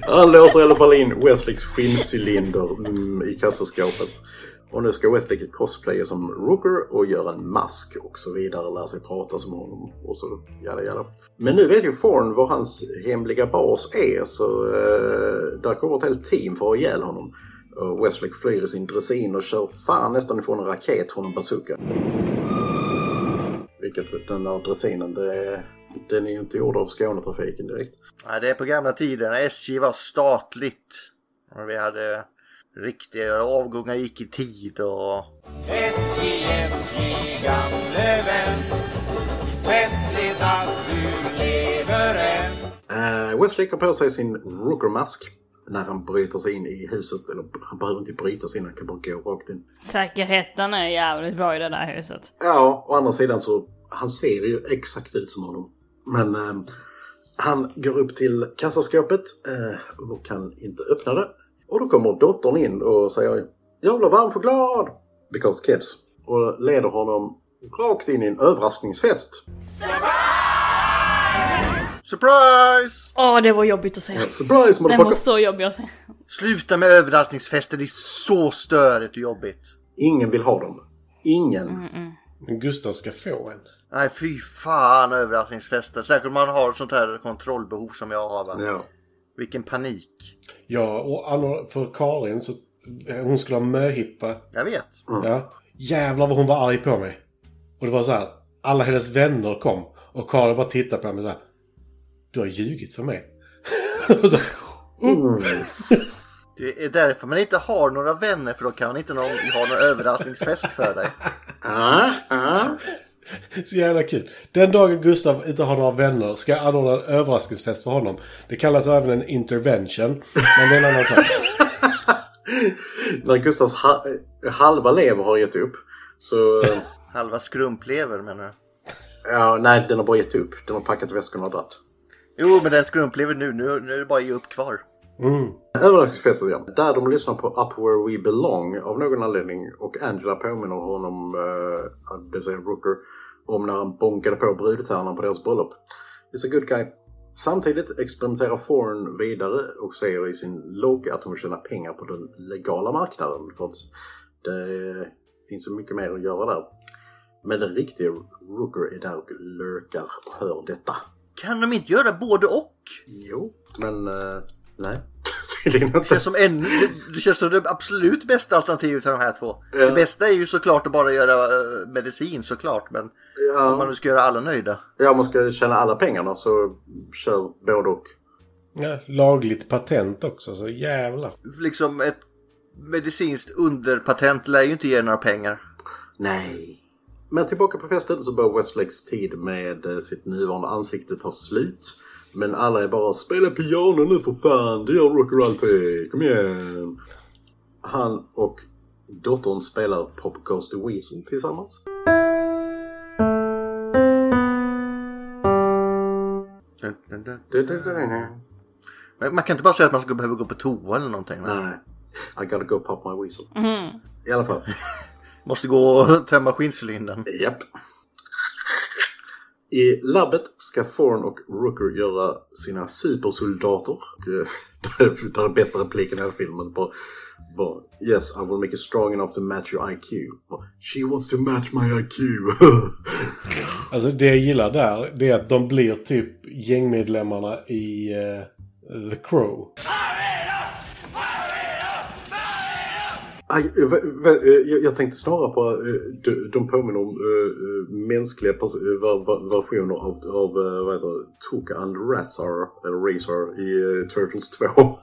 Han låser i alla fall in Westlakes skinncylinder mm, i kassaskåpet. Och nu ska Westlake cosplaya som Rooker och göra en mask och så vidare. Lära sig prata som honom och så jada jada. Men nu vet ju Forn var hans hemliga bas är så eh, där kommer ett helt team för att ha ihjäl honom. Och Westlake flyr i sin dressin och kör fan nästan ifrån en raket från en bazooka. Vilket den där dressinen, det, den är ju inte gjord av Skånetrafiken direkt.
Nej, det är på gamla tider när SJ var statligt. Och vi hade riktiga avgångar gick i tid och...
SJ, SJ, gamle vän Festligt att du lever än
Eh, Westlake har på sig sin Rooker-mask när han bryter sig in i huset. Eller han behöver inte bryta sig in, han kan bara gå rakt in.
Säkerheten är jävligt bra i det där huset.
Ja, å andra sidan så han ser ju exakt ut som honom. Men eh, han går upp till kassaskåpet eh, och kan inte öppna det. Och då kommer dottern in och säger “Jag vill ha varm choklad!” Because kids. Och leder honom rakt in i en överraskningsfest.
Surprise!
Åh, det var jobbigt att säga. Den
Surprise
var
motherfucker!
så jobbig att säga.
Sluta med överraskningsfester, det är så störigt och jobbigt.
Ingen vill ha dem. Ingen.
Men Gustav ska få en.
Nej, fy fan överraskningsfester. Särskilt om man har sånt här kontrollbehov som jag har. Va?
Ja.
Vilken panik.
Ja, och anno- för Karin så Hon skulle ha möhippa.
Jag vet.
Ja. Jävlar vad hon var arg på mig. Och det var så här. Alla hennes vänner kom. Och Karl bara tittade på mig så här. Du har ljugit för mig. Och så,
Det är därför man inte har några vänner för då kan man inte någon, ha någon överraskningsfest för dig.
Ah, ah.
så jävla kul. Den dagen Gustav inte har några vänner ska jag anordna en överraskningsfest för honom. Det kallas även en intervention. Men det är en annan sak.
När Gustavs ha- halva lever har gett upp. Så...
Halva skrumplever menar du?
Ja, nej, den har bara gett upp. Den har packat väskorna och dratt.
Jo, men den skrumplever nu. Nu, nu är det bara att ge upp kvar.
Mm.
Överraskningsfesten igen. Där de lyssnar på Up Where We Belong av någon anledning och Angela påminner honom, eh, det vill säga Rooker, om när han bonkade på brudtärnan på deras bröllop. It's a good guy. Samtidigt experimenterar Forn vidare och säger i sin logg att hon tjänar pengar på den legala marknaden för att det finns så mycket mer att göra där. Men den riktiga Rooker är där och lurkar och hör detta.
Kan de inte göra både och?
Jo, men eh, nej. Tydligen inte.
Det känns som, ännu, det, det, känns som det absolut bästa alternativet till de här två.
Ja.
Det bästa är ju såklart att bara göra eh, medicin såklart. Men om man
Ja,
nu ska göra alla nöjda.
ja, om man ska tjäna alla pengarna så kör både och.
Ja, lagligt patent också, så jävlar.
Liksom ett medicinskt underpatent lär ju inte ge några pengar.
Nej. Men tillbaka på festen så börjar Westlakes tid med eh, sitt nuvarande ansikte ta slut. Men alla är bara “Spela piano nu för fan, det gör rocker alltid, kom igen!” Han och dottern spelar Pop Goes the Weasel tillsammans.
Men man kan inte bara säga att man ska behöva gå på toa eller någonting. va?
Nej. I gotta go pop my weasel.
Mm.
I alla fall.
Måste gå och tömma skinncylinden.
Japp. I labbet ska Thorn och Rooker göra sina supersoldater. Och, eh, Det är- det är bästa repliken i hela filmen. Bara, bara, yes, I will make you strong enough to match your IQ. Bara, She wants to match my IQ.
Alltså det jag gillar där, det är att de blir typ gängmedlemmarna i eh, The Crow.
Aj, eh, vä- vä- eh, jag- jag tänkte snarare på eh, de- de påminner om eh, eh, mänskliga pers- eh, ver- ver- versioner av, av eh, vad heter det, Tuka and Razar, eller Razar i eh, Turtles 2.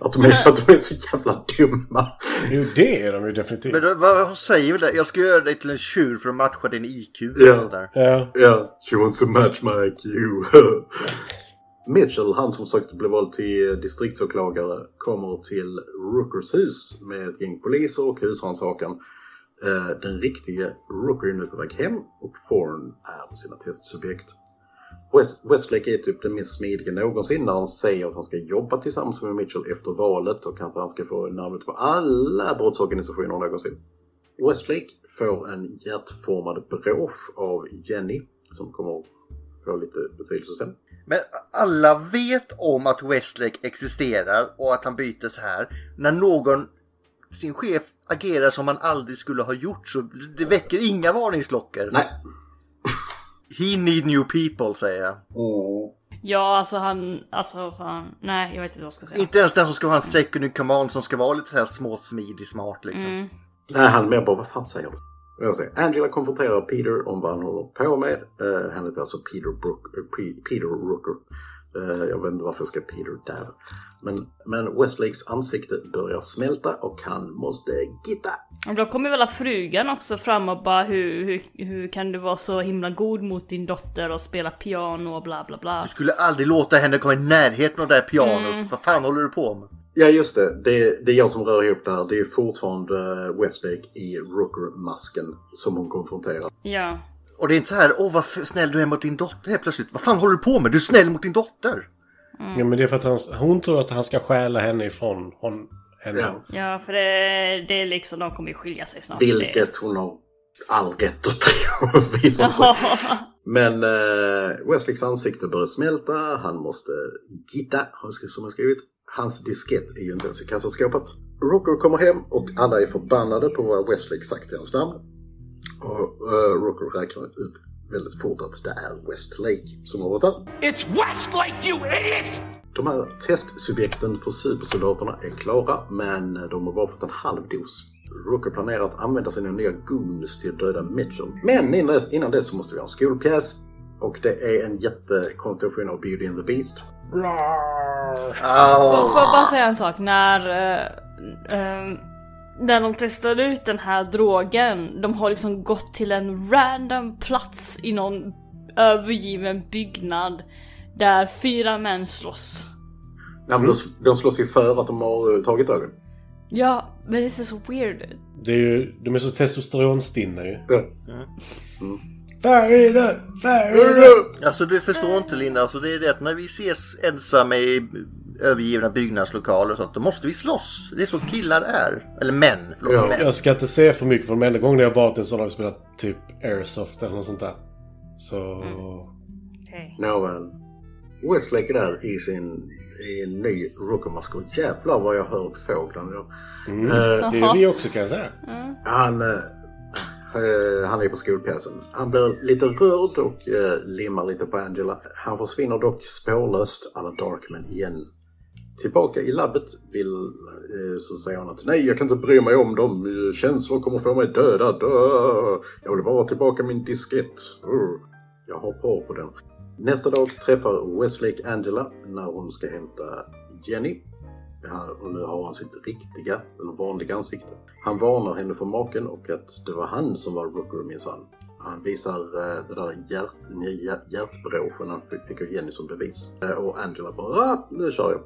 Att de, är, att de är så jävla dumma.
Jo, det är de ju definitivt.
Men då, vad hon säger väl det? Jag ska göra dig till en tjur för att matcha din IQ.
Ja.
eller Där.
Ja,
Ja, she wants to match my IQ. Mitchell, han som försökte bli vald till distriktsåklagare, kommer till Rookers hus med ett gäng poliser och husrannsakan. Eh, Den riktige Rooker är nu på väg hem och Thorn är med sina testsubjekt. West, Westlake är typ den minst smidige någonsin när han säger att han ska jobba tillsammans med Mitchell efter valet och att han ska få namnet på alla brottsorganisationer någonsin. Westlake får en hjärtformad brosch av Jenny som kommer få lite betydelse sen.
Men alla vet om att Westlake existerar och att han byter så här. När någon, sin chef, agerar som han aldrig skulle ha gjort så det väcker inga varningsklockor.
Nej.
He need new people säger jag.
Ja, alltså han, alltså fan, nej jag vet inte vad jag ska säga.
Inte ens den som ska vara hans second in command som ska vara lite så här småsmidig smart liksom.
Mm.
Nej, han är mer bara vad fan säger du? Och Jag säger, Angela konfronterar Peter om vad han håller på med. Eh, han heter alltså Peter, Brook, eh, Pe- Peter Rooker. Eh, jag vet inte varför jag ska Peter där. Men, men Westlakes ansikte börjar smälta och han måste gitta.
Och då kommer väl frugan också fram och bara hur, hur, hur kan du vara så himla god mot din dotter och spela piano och bla bla bla.
Du skulle aldrig låta henne komma i närheten av det där pianot. Vad fan håller du på med?
Ja, just det. det. Det är jag som rör ihop det här. Det är fortfarande eh, Westlake i Rooker-masken som hon konfronterar.
Ja.
Och det är inte så här, åh vad f- snäll du är mot din dotter helt plötsligt. Vad fan håller du på med? Du är snäll mot din dotter!
ja men det är för att han, hon tror att han ska stjäla henne ifrån hon, henne.
Ja.
Ja, för det, det är liksom, de kommer ju skilja sig snart.
Vilket hon har all rätt att tro visar sig.
Ja.
Men eh, Westlakes ansikte börjar smälta, han måste gitta, har jag skri- som jag skrivit. Hans diskett är ju inte ens i kassaskåpet. Rooker kommer hem och alla är förbannade på vad Westlake sagt i hans namn. Och eh, Rooker räknar ut väldigt fort att det är Westlake som har varit där.
It's Westlake, you idiot!
De här testsubjekten för supersoldaterna är klara, men de har bara fått en halv dos. Rooker planerar att använda sina nya goons till att döda Mitchell. Men innan dess- innan det så måste vi ha en skolpjäs. Och det är en jättekonstellation av Beauty and the Beast.
Au.
Får jag bara säga en sak? När, eh, eh, när de testade ut den här drogen, de har liksom gått till en random plats i någon övergiven byggnad där fyra män slåss.
Nej, men de, de slåss ju för att de har eh, tagit ögon.
Ja, men det ser så weird ut.
Det är ju, de är så testosteronstinna ju. Mm.
Ja.
Farida!
Alltså du förstår inte Linda, alltså, det är det att när vi ses ensamma i övergivna byggnadslokaler och sånt, då måste vi slåss. Det är så killar är. Eller män, förlåt.
Ja.
Män.
Jag ska inte säga för mycket för de enda gången jag har varit i en sån har vi spelat typ Airsoft eller något sånt där. Så...
Nåväl. Westlake är där i sin i en ny Rooker-mask och jävlar vad jag hör fåglarna. då.
Mm.
Eh,
Det är vi också kan jag säga.
Han, eh, eh, han är på skolpjäsen. Han blir lite rörd och eh, limmar lite på Angela. Han försvinner dock spårlöst alla Darkman igen. Tillbaka i labbet vill, eh, så säger han att nej, jag kan inte bry mig om dem. Eh, Känslor kommer få mig döda. Dö. Jag vill bara ha tillbaka min diskett. Uh. Jag hoppar av på den. Nästa dag träffar Westlake Angela när hon ska hämta Jenny. Ja, Och nu har han sitt riktiga, eller vanliga ansikte. Han varnar henne för maken och att det var han som var Rooker minsann. Han visar eh, det där hjärt, hjärt, hjärtbråchen han fick- fick av Jenny som bevis. Eh, och Angela bara ah, nu kör jag.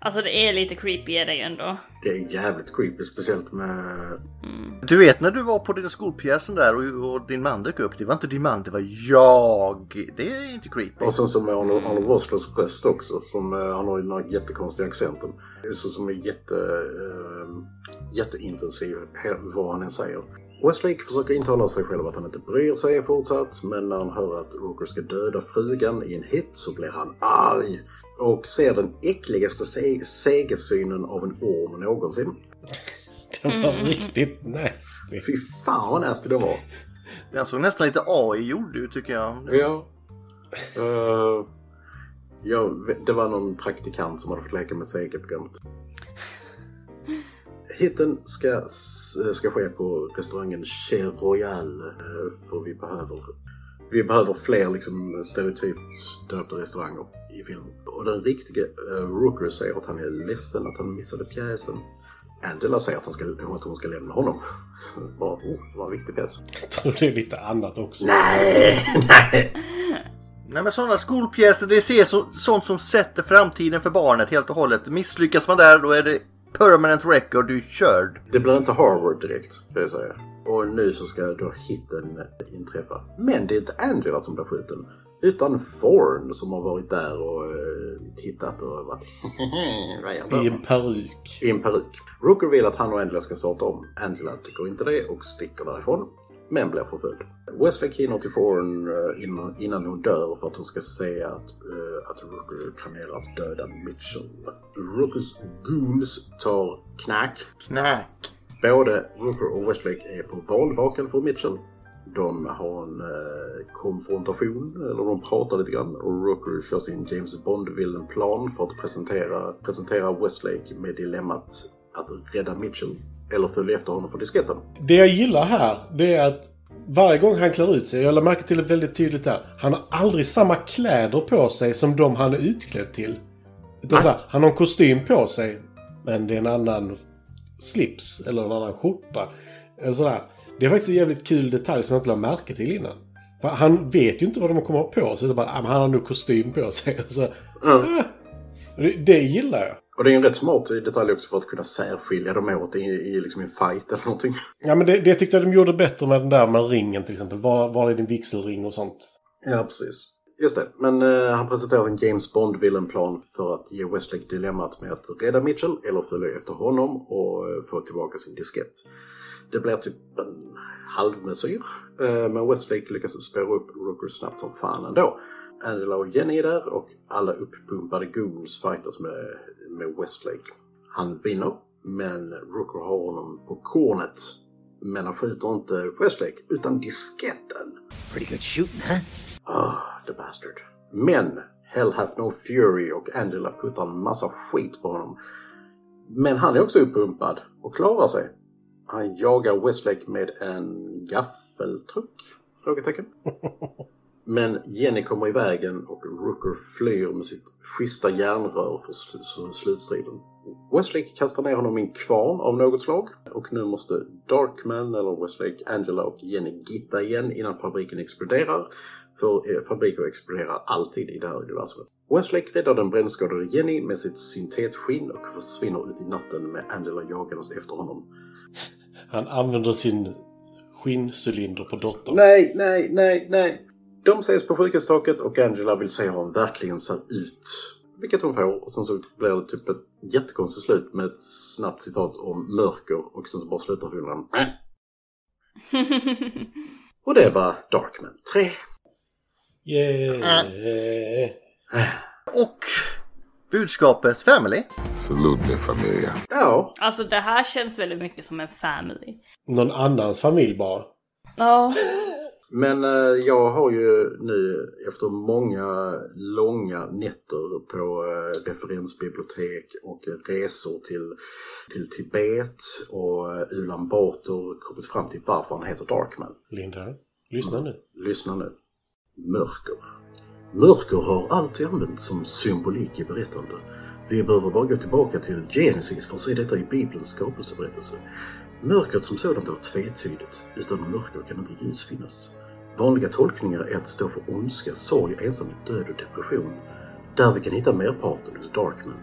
Alltså det är lite creepy är det ju ändå.
Det är jävligt creepy, speciellt med...
Du vet när du var på den skolpjäsen där och, och din man dök upp, det var inte din man, det var jag. Det är inte creepy.
Och sen så med Arnold Arnold Wostlers röst också. Som, eh, han har ju den här jättekonstiga accenten. Så, som är jätte, eh, jätteintensiv he- vad han än säger. Westlake försöker intala sig själv att han inte bryr sig fortsatt. Men när han hör att Rooker ska döda frugan i en hit så blir han arg. Och ser den äckligaste se- segersynen av en orm någonsin.
Det var riktigt nasty.
Fy fan vad nasty de var!
Den såg nästan lite AI-gjord ut tycker jag.
Ja. Eh, ja. Det var någon praktikant som hade fått leka med segerprogrammet. Hitten ska, ska ske på restaurangen Chez Royal. eh, För vi behöver, vi behöver fler liksom, stereotypt döpta restauranger i filmen. Och den riktiga eh, Rooker säger att han är ledsen att han missade pjäsen. Angela säger att, han ska, att hon ska lämna honom. Bara, oh, det var en viktig pjäs.
Jag tror det är lite annat också.
Nej, nej.
Nej men sådana skolpjäser, det ser så, sånt som sätter framtiden för barnet helt och hållet. Misslyckas man där, då är det permanent record, du är körd.
Det blir inte Harvard direkt, kan jag säga. Och nu så ska då hitten inträffa. Men det är inte Angela som blir skjuten. Utan Thorn som har varit där och eh, tittat och varit Vad gör du?
I en peruk.
i en peruk. Rooker vill att han och Angela ska starta om. Angela tycker inte det och sticker därifrån. Men blir förföljd. Wesley hinner till Thorn eh, innan, innan hon dör för att hon ska säga att, eh, att Rooker planerar att döda Mitchell. Rookers goons tar knack
Knä.
Både Rooker och Westlake är på valvakan för Mitchell. De har en eh, konfrontation, eller de pratar lite grann. Och Rooker kör sin James Bond-villain-plan för att presentera, presentera Westlake med dilemmat att rädda Mitchell eller följa efter honom för disketten.
Det jag gillar här, det är att varje gång han klär ut sig, jag lade märke till det väldigt tydligt där, han har aldrig samma kläder på sig som de han är utklädd till. Utan så här, han har en kostym på sig, men det är en annan slips eller en annan skjorta. Eller sådär. Det är faktiskt en jävligt kul detalj som jag inte lade märke till innan. För han vet ju inte vad de kommer ha på sig, utan bara ah, men han har nog kostym på sig. Och så, ah. det, det gillar jag.
Och det är en rätt smart detalj också för att kunna särskilja dem åt i, i liksom en fight eller någonting.
Ja, men det, det tyckte jag de gjorde bättre med den där med ringen till exempel. Var, var är din vigselring och sånt?
Ja, precis. Just det, men eh, han presenterar en James Bond-villain-plan för att ge Westlake dilemmat med att rädda Mitchell eller följa efter honom och eh, få tillbaka sin diskett. Det blir typ en halvmesyr, eh, men Westlake lyckas spåra upp Rooker snabbt som fan ändå. Angela och Jenny är där och alla uppumpade goons fightas med, med Westlake. Han vinner, men Rooker har honom på kornet. Men han skjuter inte Westlake, utan disketten. Ah, the bastard. Men Hell Hath No Fury och Angela puttar en massa skit på honom. Men han är också uppumpad och klarar sig. Han jagar Westlake med en gaffeltruck? Frågetecken. Men Jenny kommer i vägen och Rooker flyr med sitt schyssta järnrör för sl- sl- slutstriden. Westlake kastar ner honom i en kvarn av något slag och nu måste Darkman, eller Westlake, Angela och Jenny gitta igen innan fabriken exploderar. För eh, fabriker exploderar alltid i det här universumet. Westlake räddar den brännskadade Jenny med sitt syntetskinn och försvinner ut i natten med Angela jagandes efter honom.
Han använder sin skinncylinder på dottern.
Nej, nej, nej, nej. De ses på sjukhustaket och Angela vill se hur hon verkligen ser ut. Vilket hon får och sen så blir det typ ett jättekonstigt slut med ett snabbt citat om mörker och sen så bara slutar filmen. Äh. Och det var Darkman 3.
Yeah.
Och budskapet Family.
Salute mi familia.
Ja,
Alltså det här känns väldigt mycket som en family.
Någon annans familj bara.
Ja.
men eh, jag har ju nu efter många långa nätter på eh, referensbibliotek och resor till, till Tibet och eh, Ulan Bator kommit fram till varför han heter Darkman.
Linda, lyssna nu.
Lyssna nu. Mörker. Mörker har alltid använts som symbolik i berättande. Vi behöver bara gå tillbaka till Genesis för att se detta i Bibelns skapelseberättelse. Mörkret som sådant är tvetydigt. Utan mörker kan inte ljus finnas. Vanliga tolkningar är att det står för ondska, sorg, ensamhet, död och depression. Där vi kan hitta merparten hos Darkman.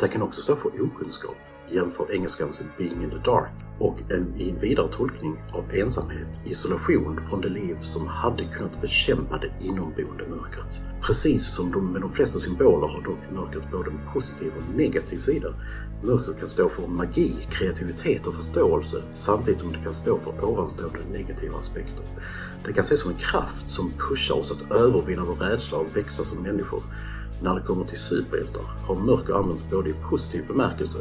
Det kan också stå för okunskap. Jämför engelskans Being in the Dark och en i en vidare tolkning av ensamhet, isolation från det liv som hade kunnat bekämpa det inomboende mörkret. Precis som de, med de flesta symboler har dock mörkret både en positiv och en negativ sida. Mörkret kan stå för magi, kreativitet och förståelse samtidigt som det kan stå för ovanstående negativa aspekter. Det kan ses som en kraft som pushar oss att övervinna vår rädsla och växa som människor. När det kommer till superhjältar har mörker använts både i positiv bemärkelse.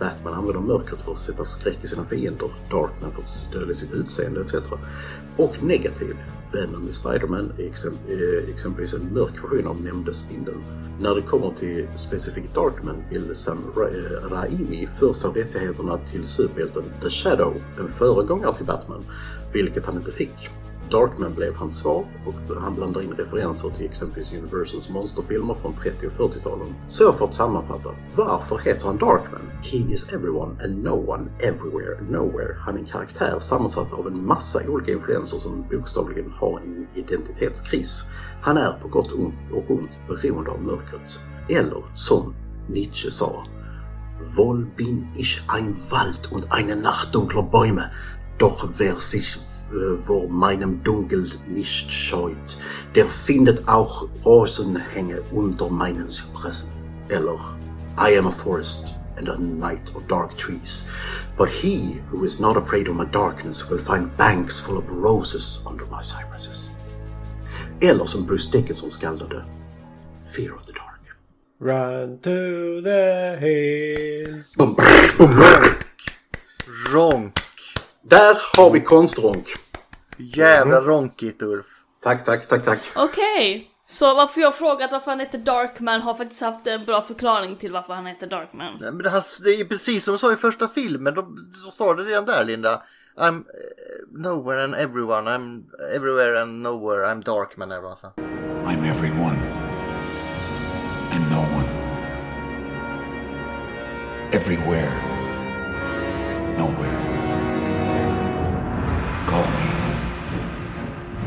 Batman använder mörkret för att sätta skräck i sina fiender, Darkman för att dölja sitt utseende etc. Och negativ. Venom i Spiderman är exem- eh, exempelvis en mörk version av nämnde spindeln. När det kommer till specifikt Darkman vill Sam Ra- eh, Raimi först ha rättigheterna till superhjälten The Shadow, en föregångare till Batman, vilket han inte fick. Darkman blev hans svar och han blandar in referenser till exempelvis Universals monsterfilmer från 30 och 40-talen. Så för att sammanfatta, varför heter han Darkman? He is everyone and no one, everywhere, nowhere. Han är en karaktär sammansatt av en massa olika influenser som bokstavligen har en identitetskris. Han är på gott och ont beroende av mörkret. Eller som Nietzsche sa, Wohl bin ich ein Wald und eine Nacht dunkler Bäume, doch wer sich äh, vor meinem Dunkel nicht scheut, der findet auch Rosenhänge unter meinen Zypressen. Eller, I am a forest and a night of dark trees, but he who is not afraid of my darkness will find banks full of roses under my cypresses. Eller som Bruce Dickinson skaldade, Fear of the Dark.
Run to the hills.
Bum, brr, bum, brr.
Ronk.
Där har vi konstronk.
Jävla ronkigt Ulf.
Tack, tack, tack, tack.
Okej. Så varför jag frågat varför han heter Darkman har faktiskt haft en bra förklaring till varför han heter Darkman.
Nej, Men det, här, det är precis som de sa i första filmen. De, de sa det redan där Linda. I'm eh, nowhere and everyone. I'm everywhere and nowhere. I'm Darkman. eller vad han sa.
I'm everyone and no one. Everywhere, nowhere. Call me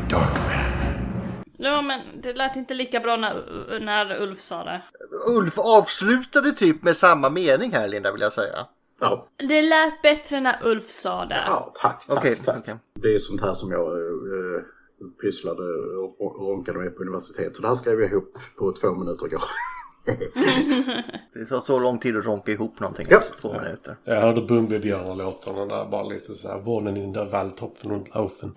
Darkman.
Ja men det lät inte lika bra när, när Ulf sa det.
Ulf avslutade typ med samma mening här Linda vill jag säga.
Ja,
Det lät bättre när Ulf sa det.
ja tack, tack,
Okej,
tack.
okej.
Det är sånt här som jag eh, pysslade och och ronkade med på universitet. Så det här skrev jag ihop på två minuter igår.
Det tar så lång tid att ronka ihop någonting.
Ja.
Alltså, två minuter.
Jag hörde Bumbibjörnar-låtarna där bara lite så här. Wohnen in der Wald, Hopfen und Laufen.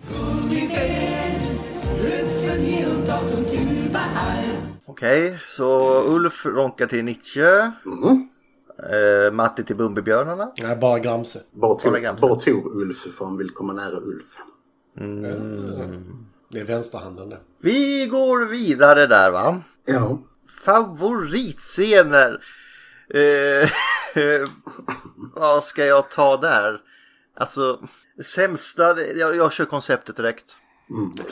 Okej, så Ulf ronkar till Nietzsche. Eh, Matti till Bumbibjörnarna.
Nej, bara Gramse.
Bara
Kolla
tog,
Gramsen.
bara tog Ulf för han vill komma nära Ulf.
Det är vänsterhanden det.
Vi går vidare där va?
Ja.
favoritscener. Eh, vad ska jag ta där? Alltså, sämsta, det- jag, jag kör konceptet direkt.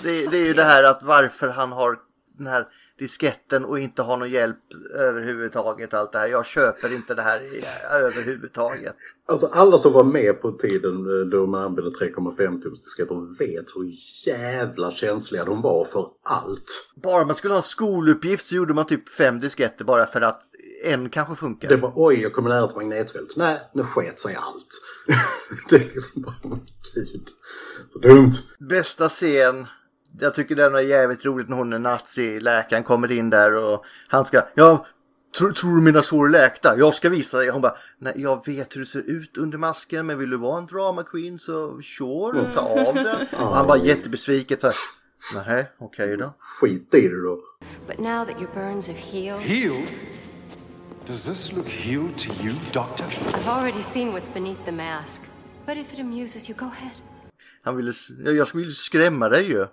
Det, det är ju det här att varför han har den här disketten och inte har någon hjälp överhuvudtaget. Allt det här. Jag köper inte det här i, överhuvudtaget.
Alltså alla som var med på tiden eh, då man använde 3,5 tums disketter vet hur jävla känsliga de var för allt.
Bara man skulle ha en skoluppgift så gjorde man typ fem disketter bara för att en kanske funkar.
Det var oj, jag kommer nära ett magnetfält. Nej, nu sket sig allt. det är liksom bara, men gud. Så dumt.
Bästa scen. Jag tycker den var jävligt roligt när hon är nazi. Läkaren kommer in där och han ska... Ja, tror, tror du mina sår är läkta? Jag ska visa dig. Hon bara... Nej, jag vet hur det ser ut under masken men vill du vara en drama queen så sure, ta av den. Och han var jättebesviken. så här, Nej, okej då.
Skit i det då.
But now that your burns have healed,
Healed? Does this look healed to you, Doctor?
I've already seen what's beneath the mask. But if it amuses you, go ahead.
Han ville... s- Jag jag skulle ju skrämma dig ju.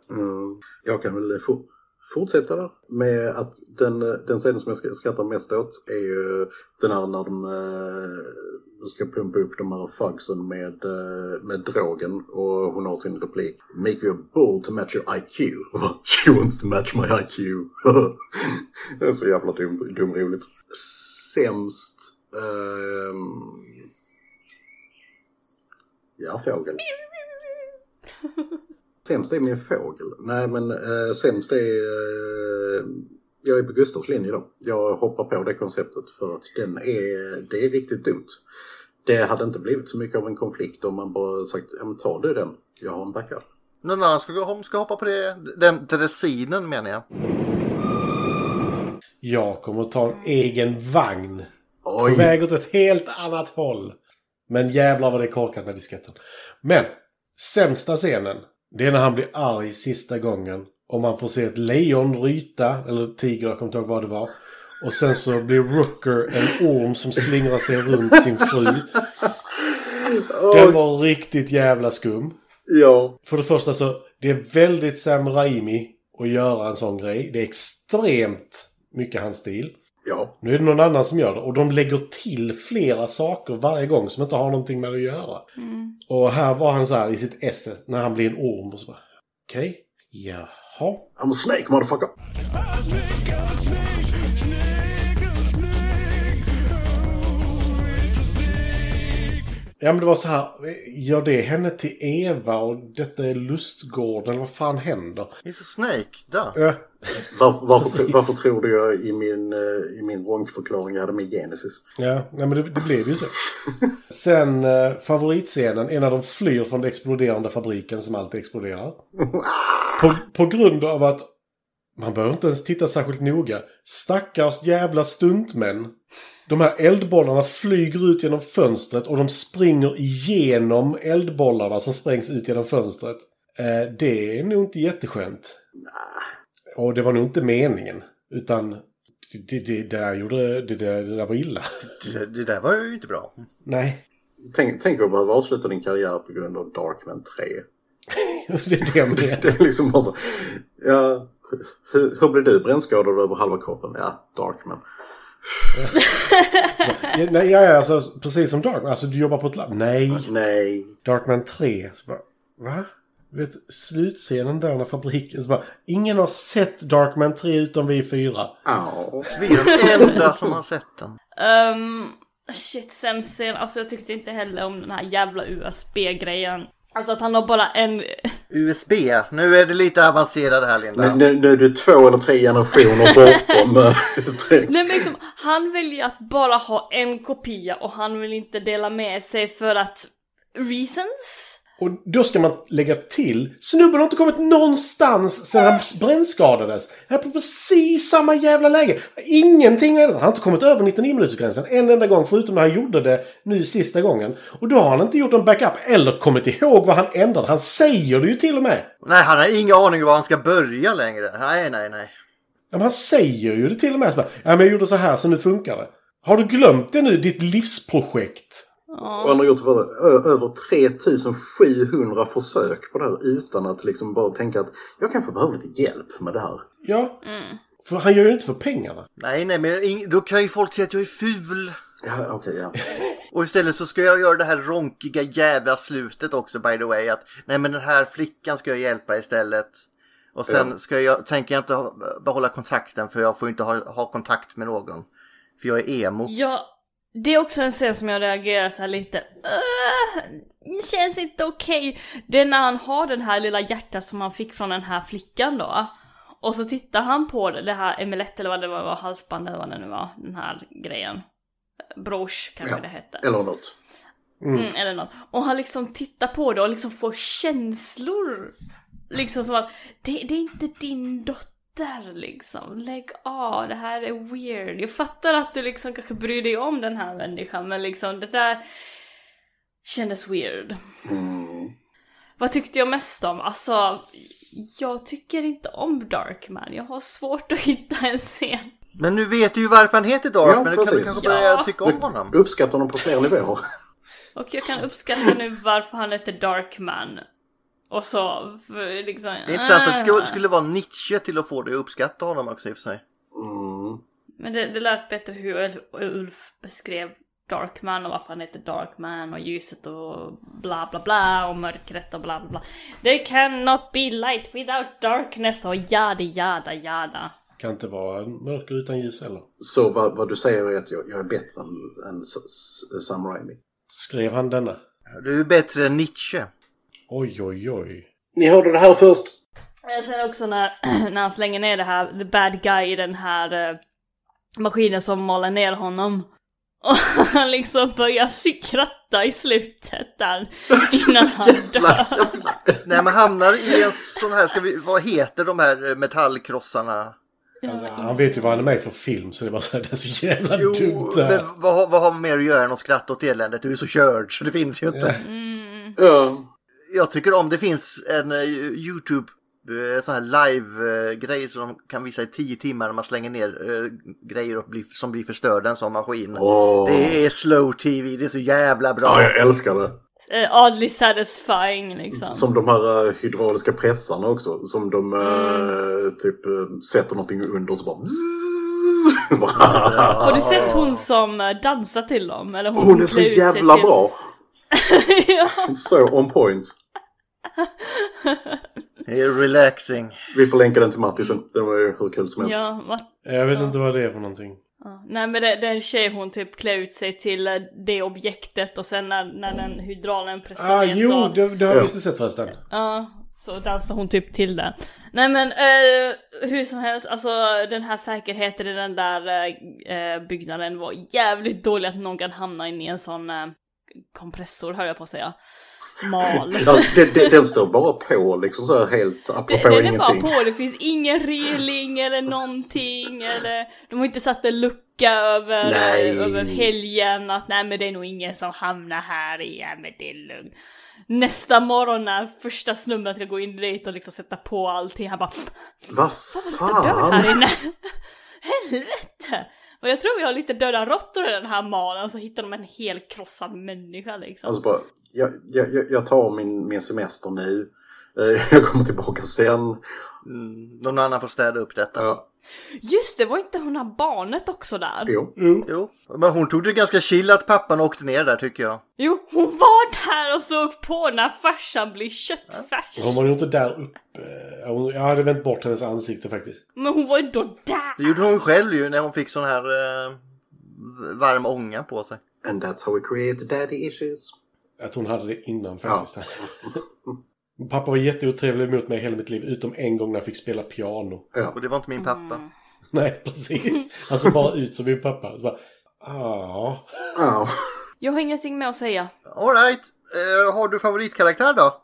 Jag kan väl få, fortsätta där med att den, den scenen som jag sk- skrattar mest åt är ju den här när de eh, ska pumpa upp de här fugsen med, eh, med drogen och hon har sin replik Make you a bull to match your IQ. Och bara, She wants to match my IQ. det är så jävla dumt, dumroligt. Sämst... ehm, Ja, fågel. Sämst är min fågel. Nej, men eh, sämst är... Eh, jag är på Gustavs linje då. Jag hoppar på det konceptet för att den är, det är riktigt dumt. Det hade inte blivit så mycket av en konflikt om man bara sagt ja, men ta du den, jag har en backup.
Någon annan ska, gå- ska hoppa på det. Den dressinen menar jag.
Jag kommer ta en egen vagn. På
Oj!
väg åt ett helt annat håll. Men jävlar vad det är korkat med disketten. Men, sämsta scenen. Det är när han blir arg sista gången. Och man får se ett lejon ryta, eller tiger, jag kommer inte ihåg vad det var. Och sen så blir Rooker en orm som slingrar sig runt sin fru. Den var riktigt jävla skum.
Ja.
För det första så, det är väldigt Sam Raimi att göra en sån grej. Det är extremt mycket hans stil.
Ja.
Nu är det någon annan som gör det och de lägger till flera saker varje gång som inte har någonting med det att göra. Och här var han så här i sitt esse när han blir en orm och så bara, Okej, jaha.
I'm a snake motherfucker!
Ja men det var så här, gör det henne till Eva och detta är lustgården, vad fan händer?
He's a snake. Där.
Äh,
Varför, varför,
Precis.
varför tror du jag i min, eh, i min ronkförklaring jag hade med Genesis?
ja, nej men det, det blev ju så. Sen eh, favoritscenen är när de flyr från den exploderande fabriken som alltid exploderar. På, på grund av att man behöver inte ens titta särskilt noga. Stackars jävla stuntmän. De här eldbollarna flyger ut genom fönstret och de springer igenom eldbollarna som sprängs ut genom fönstret. Eh, det är nog inte jätteskönt. Och det var nog inte meningen. Utan det, det, det, där, gjorde, det, där, det där var illa.
Det, det där var ju inte bra.
Nej.
Tänk, tänk att behöva avsluta din karriär på grund av Darkman 3.
det är det jag menar.
Det är liksom bara så. Ja, hur, hur blir du brännskadad över halva kroppen? Ja, Darkman.
Ja, Nej, ja, ja, alltså, precis som Darkman. Alltså du jobbar på ett labb. Nej.
Nej.
Darkman 3. Så bara, va? Du vet, slutscenen där när fabriken... Så bara, ingen har sett Darkman 3 utom vi fyra.
Au.
Vi är de enda som har sett den.
Ehm, shit, sämst scen. Alltså jag tyckte inte heller om den här jävla USB-grejen. Alltså att han har bara en...
USB. Nu är det lite avancerad här Linda.
Men nu, nu är du två eller tre generationer bortom eh, tre.
Nej men liksom, han väljer att bara ha en kopia och han vill inte dela med sig för att... Reasons?
Och då ska man lägga till. Snubben har inte kommit någonstans sedan han brännskadades. Han är på precis samma jävla läge. Ingenting har hänt. Han har inte kommit över 99-minutersgränsen en enda gång förutom när han gjorde det nu sista gången. Och då har han inte gjort en backup eller kommit ihåg vad han ändrade. Han säger det ju till och med.
Nej, han har ingen aning om var han ska börja längre. Nej, nej, nej.
Ja, men han säger ju det till och med. Så bara, ja, men jag gjorde så här så nu funkar det. Har du glömt det nu, ditt livsprojekt?
Och han har gjort vad, ö- över 3700 försök på det här utan att liksom bara tänka att jag kanske behöver lite hjälp med det här.
Ja. För han gör ju inte för pengarna.
Nej, nej, men ing- då kan ju folk säga att jag är ful.
Ja, okej, ja.
Och istället så ska jag göra det här ronkiga jävla slutet också by the way. Att nej men den här flickan ska jag hjälpa istället. Och sen
Ja.
ska jag, tänker jag inte ha, behålla kontakten för jag får inte ha, ha kontakt med någon. För jag är emo.
Ja, det är också en scen som jag reagerar så här lite. "Åh, Det känns inte okej. Det är när han har den här lilla hjärtat som han fick från den här flickan då. Och så tittar han på det det här emelett eller vad det var, halsband eller vad det nu var, den här grejen. Brosch kanske
Ja.
det hette.
Eller något.
Mm, eller något. Och han liksom tittar på det och liksom får känslor. Liksom som att det, det är inte din dotter liksom. Lägg av, det här är weird. Jag fattar att du liksom kanske bryr dig om den här människan men liksom det där kändes weird. Vad tyckte jag mest om? Alltså, jag tycker inte om Darkman. Jag har svårt att hitta en scen.
Men nu vet du ju varför han heter Dark.
Ja,
men du kan väl
precis.
kanske
Ja.
börja tycka om honom.
Uppskattar honom på fler nivåer.
Och jag kan uppskatta nu varför han heter Darkman. Och så, för liksom...
Det är intressant att det skulle, skulle vara Nietzsche till att få dig att uppskatta honom också i och för sig.
Mm.
Men det, det lät bättre hur Ul- Ulf beskrev Darkman och varför han heter Darkman och ljuset och bla bla bla och mörkret och bla bla bla. There cannot be light without darkness och yada yada yada.
Kan inte vara mörker utan ljus heller.
Så vad, vad du säger är att jag, jag är bättre än, än S- S- Sam Raimi.
Skrev han denna?
Du är bättre än Nietzsche.
Oj, oj, oj.
Ni hörde det här först.
Men sen också när, när han slänger ner det här, the bad guy i den här eh, maskinen som maler ner honom. Och han liksom börjar skratta i slutet där. Innan han dör.
Nej man hamnar i en sån här, ska vi, vad heter de här eh, metallkrossarna?
Alltså, han vet ju vad han är med för film så det är bara så här, det är så jävla dumt det här.
men vad, har- vad har man mer att göra än att skratta åt eländet? Du är så körd så det finns ju inte.
Ja.
Jag tycker om det finns en eh, YouTube eh, sån här live-grej som de kan visa i tio timmar när man slänger ner eh, grejer och blir, som blir förstörda en sån maskin.
Åh.
Det är slow-tv, det är så jävla
ja,
bra.
jag älskar det.
Eh, Oddly satisfying liksom.
Som de här eh, hydrauliska pressarna också. Som de eh,
Mm.
typ eh, sätter någonting under och så bara... bzzz. Bara-
Har du sett hon som eh, dansar till dem? Eller hon,
Hon är
klär
så
ut sig
jävla
till...
bra!
typ. ja.
Så on point.
Det är relaxing.
Vi får länka den till Mattisen. Den var ju hur kul som helst.
ja va?
Jag vet inte vad det är för någonting.
Ja. Nej men det, det är en tjej hon typ klär ut sig till eh, det objektet och sen när, när den hydraulen pressar
Ah,
ner
jo,
så...
det, det har
Ja.
vi visst sett förresten.
Ja, så dansar hon typ till det. Nej men eh, hur som helst, alltså den här säkerheten i den där eh, eh, byggnaden var jävligt dålig att någon kan hamna in i en sån eh, kompressor höll jag på att säga. Mal.
Ja, den, den, den står bara på liksom så här helt apropå
Det, den är bara
ingenting.
på, det finns ingen reling eller någonting eller de har inte satt en lucka över,
Nej.
över helgen att nej men det är nog ingen som hamnar här igen men det är lugnt. Nästa morgon när första snubben ska gå in dit och liksom sätta på allting, han bara
Vad
dör
fan!
här inne. Helvete! Och jag tror vi har lite döda råttor i den här malen så hittar de en hel krossad människa liksom.
Alltså bara, jag, jag, jag- jag tar min, min semester nu. Eh, Jag kommer tillbaka sen.
Mm, någon annan får städa upp detta.
Ja,
Just det, var inte hon här barnet också där?
jo.
Jo, men hon tog det ganska chill att pappan åkte ner där tycker jag.
Jo, hon var där och såg på när farsan blev köttfärs.
Hon var ju inte där uppe. Ja, hon- Jag hade vänt bort hennes ansikte faktiskt.
Men hon var ju då
Det
där!
gjorde hon själv ju när hon fick sån här eh, varm ånga på sig.
And that's how we create daddy issues.
Att hon hade det innan faktiskt. Pappa var jätteotrevlig mot mig hela mitt liv, utom en gång när jag fick spela piano.
Och det var inte min pappa.
Mm.
Nej, precis. Alltså bara ut som min pappa. Så bara, ah.
Ja.
Jag har ingenting med att säga.
Alright, eh, har du favoritkaraktär då?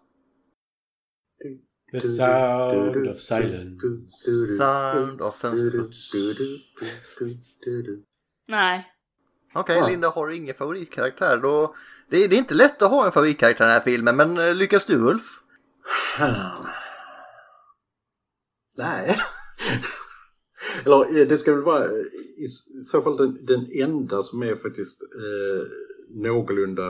The sound of silence.
Sound of fönsterputs.
Nej.
Okej,
Ja.
Linda har ingen favoritkaraktär. Då... Det, är, det är inte lätt att ha en favoritkaraktär i den här filmen, men eh, lyckas du Ulf?
Nej. Eller eh, det ska väl vara eh, i s- i så fall den, den enda som är faktiskt eh, någorlunda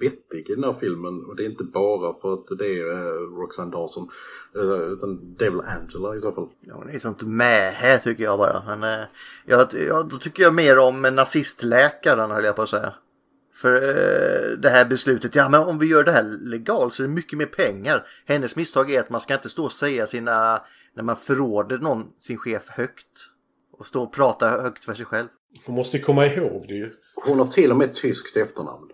vettig i den här filmen. Och det är inte bara för att det är eh, Roxanne Dawson. eh, utan det är väl Angela i så fall.
Ja, hon är ju sånt mähä tycker jag bara. Men, eh, jag, jag, då tycker jag mer om nazistläkaren höll jag på att säga. För eh, det här beslutet, ja men om vi gör det här legalt så är det mycket mer pengar. Hennes misstag är att man ska inte stå och säga sina, när man förråder någon, sin chef högt. Och stå och prata högt för sig själv.
Man måste ju komma ihåg det ju.
Hon har till och med tyskt efternamn.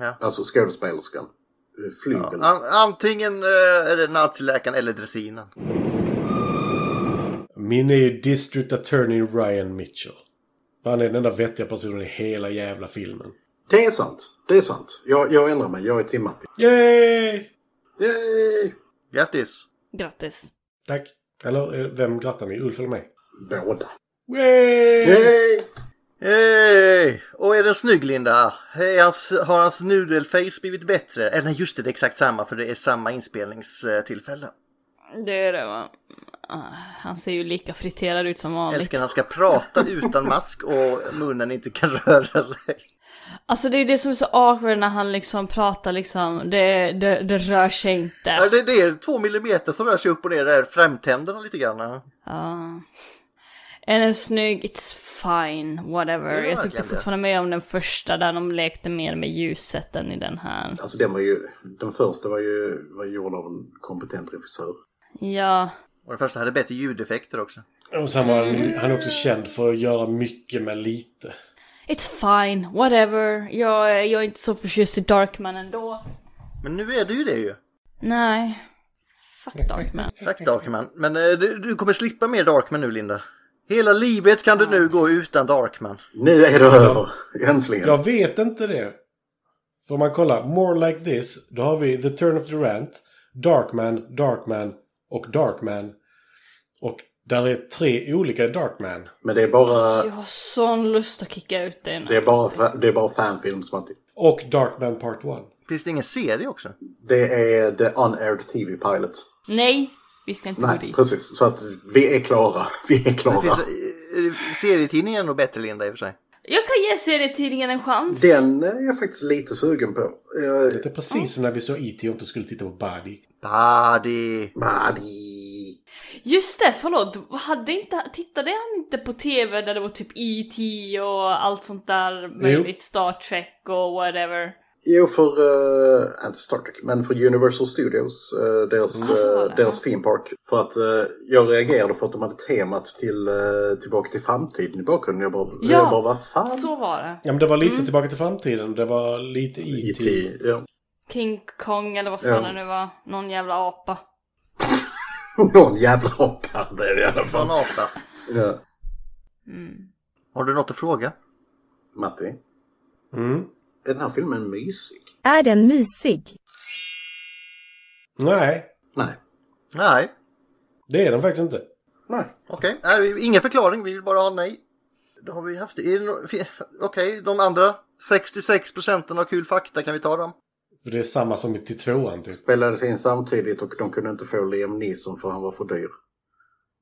Ja.
Alltså skådespelerskan. Eh, Flygel.
An, antingen eh, är det naziläkaren eller dressinen.
Min är ju District Attorney Ryan Mitchell. Han är den enda vettiga personen i hela jävla filmen.
Det är sant. Det är sant. Jag, jag ändrar mig. Jag är Tim Matti.
Yay!
Yay!
Grattis!
Grattis.
Tack. Eller eh, vem grattar ni? Ulf eller mig?
Båda.
Yay!
Yay!
Hej! Och är den snygg Linda? Är hans, har hans nudelface blivit bättre? Eller nej, just det, det är exakt samma för det är samma inspelningstillfälle.
Det är det va. Ah, Han ser ju lika friterad ut som vanligt.
Älskar när han ska prata utan mask och munnen inte kan röra sig.
Alltså det är ju det som är så awkward när han liksom pratar liksom, det, det, det rör sig
Ja,
inte.
det, det är två millimeter som rör sig upp och ner där, framtänderna lite grann.
Ja. Är den snygg? It's fine,
Det är
whatever.
det
Jag tyckte
verkligen det.
fortfarande mer om den första där de lekte mer med ljuset än i den här.
Alltså den var ju... Den första var ju var gjord av en kompetent regissör.
Ja,
Och den första hade bättre ljudeffekter också.
Och sen var han, han är också känd för att göra mycket med lite.
it's fine, whatever. Jag, är- jag är inte så förtjust i Darkman ändå.
Men nu är det ju det ju.
Nej. Fuck Darkman.
Tack Darkman. Men eh, du, du kommer slippa mer Darkman nu Linda. Hela livet kan du nu gå utan Darkman.
Nu är det över. Äntligen.
Jag vet inte det. För om man kollar, More Like This, då har vi The Turn of Durant, Darkman, Darkman och Darkman. Och där är tre olika Darkman.
Men det är bara...
Jag har sån lust att kicka ut dig nu.
Uh, Det är bara, fa- det är bara fanfilms, Matti.
Och Darkman Part 1.
Finns det ingen serie också?
Det är The Unaired TV Pilot.
Nej, vi ska inte gå
Nej,
dit.
precis. Så att vi är klara. Vi är
Det
klara.
finns, eh, serietidningen är nog bättre Linda i och för sig.
Jag kan ge serietidningen en chans.
Den är jag faktiskt lite sugen på. Eh,
Det är precis som när vi såg IT och inte skulle titta på Buddy.
Buddy!
Matti.
Just det, förlåt. Hade inte, tittade han inte på TV där det var typ E.T. och allt sånt där möjligt? Star Trek och whatever.
Jo, för... eh, inte Star Trek, men för Universal Studios. eh, deras
Ja, så var det.
eh, deras theme park. För att eh, jag reagerade för att de hade temat till eh, Tillbaka till framtiden i bakgrunden. Jag bara,
Ja,
jag bara vad fan?
Så var det.
Ja men det var lite Tillbaka till framtiden, det var lite E
E
IT.
E.T. Ja.
King Kong eller vad fan
Ja.
det nu var. Någon jävla apa.
Någon jävla apa det är det i alla
Från
fall.
apa.
Ja.
Mm.
Har du något att fråga?
Matti, är
Mm.
den här filmen mysig?
Är den mysig?
Nej,
Nej.
Nej,
det är den faktiskt inte.
Nej.
okej. Nej, Ingen förklaring, vi vill bara ha nej. Då har vi haft är det. nå- fi- Okej, de andra 66 procenten av kul fakta, kan vi ta dem?
För det är samma som i till tvåan typ.
Spelades in samtidigt och de kunde inte få Liam Neeson för han var för dyr.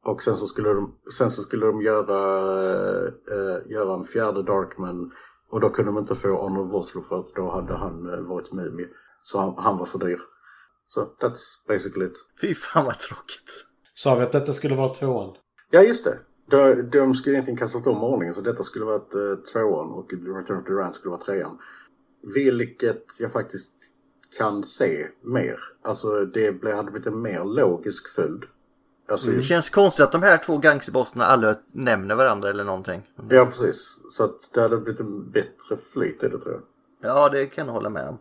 Och sen så skulle de, sen så skulle de göra, eh, göra en fjärde Darkman och då kunde de inte få Arnold Vosloo för att då hade han eh, varit mumie. Så han, han var för dyr. Så that's basically it.
Fy fan vad tråkigt.
Sa vi att detta skulle vara tvåan?
Ja, just det. De, de skulle egentligen kastat om ordningen så detta skulle varit eh, tvåan och Return of the Rand skulle vara trean. Vilket jag faktiskt kan se mer. Alltså det blev, hade blivit en mer logisk följd. Alltså,
Det känns konstigt att de här två gangsterbossarna aldrig nämner varandra eller någonting.
Ja, precis. Så att det hade blivit en bättre flyt i det tror jag.
Ja, det kan jag hålla med om.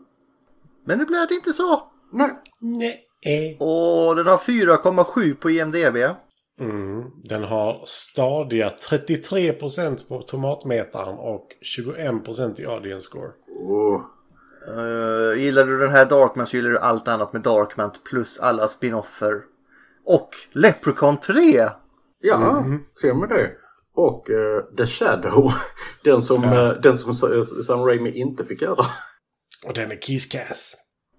Men nu blev det inte så.
Nej.
Nej.
Och den har 4,7 på IMDB.
Mm. Den har stadiga 33% på tomatmetaren och 21% i audience score.
Åh.
Eh, gillar du den här Darkman så gillar du allt annat med Darkman plus alla spinoffer. Och Leprechaun 3!
Ja, ser man det. Och eh, The Shadow. Den som, eh, den som Sa- Sam Raimi inte fick göra.
Och den är kisskass.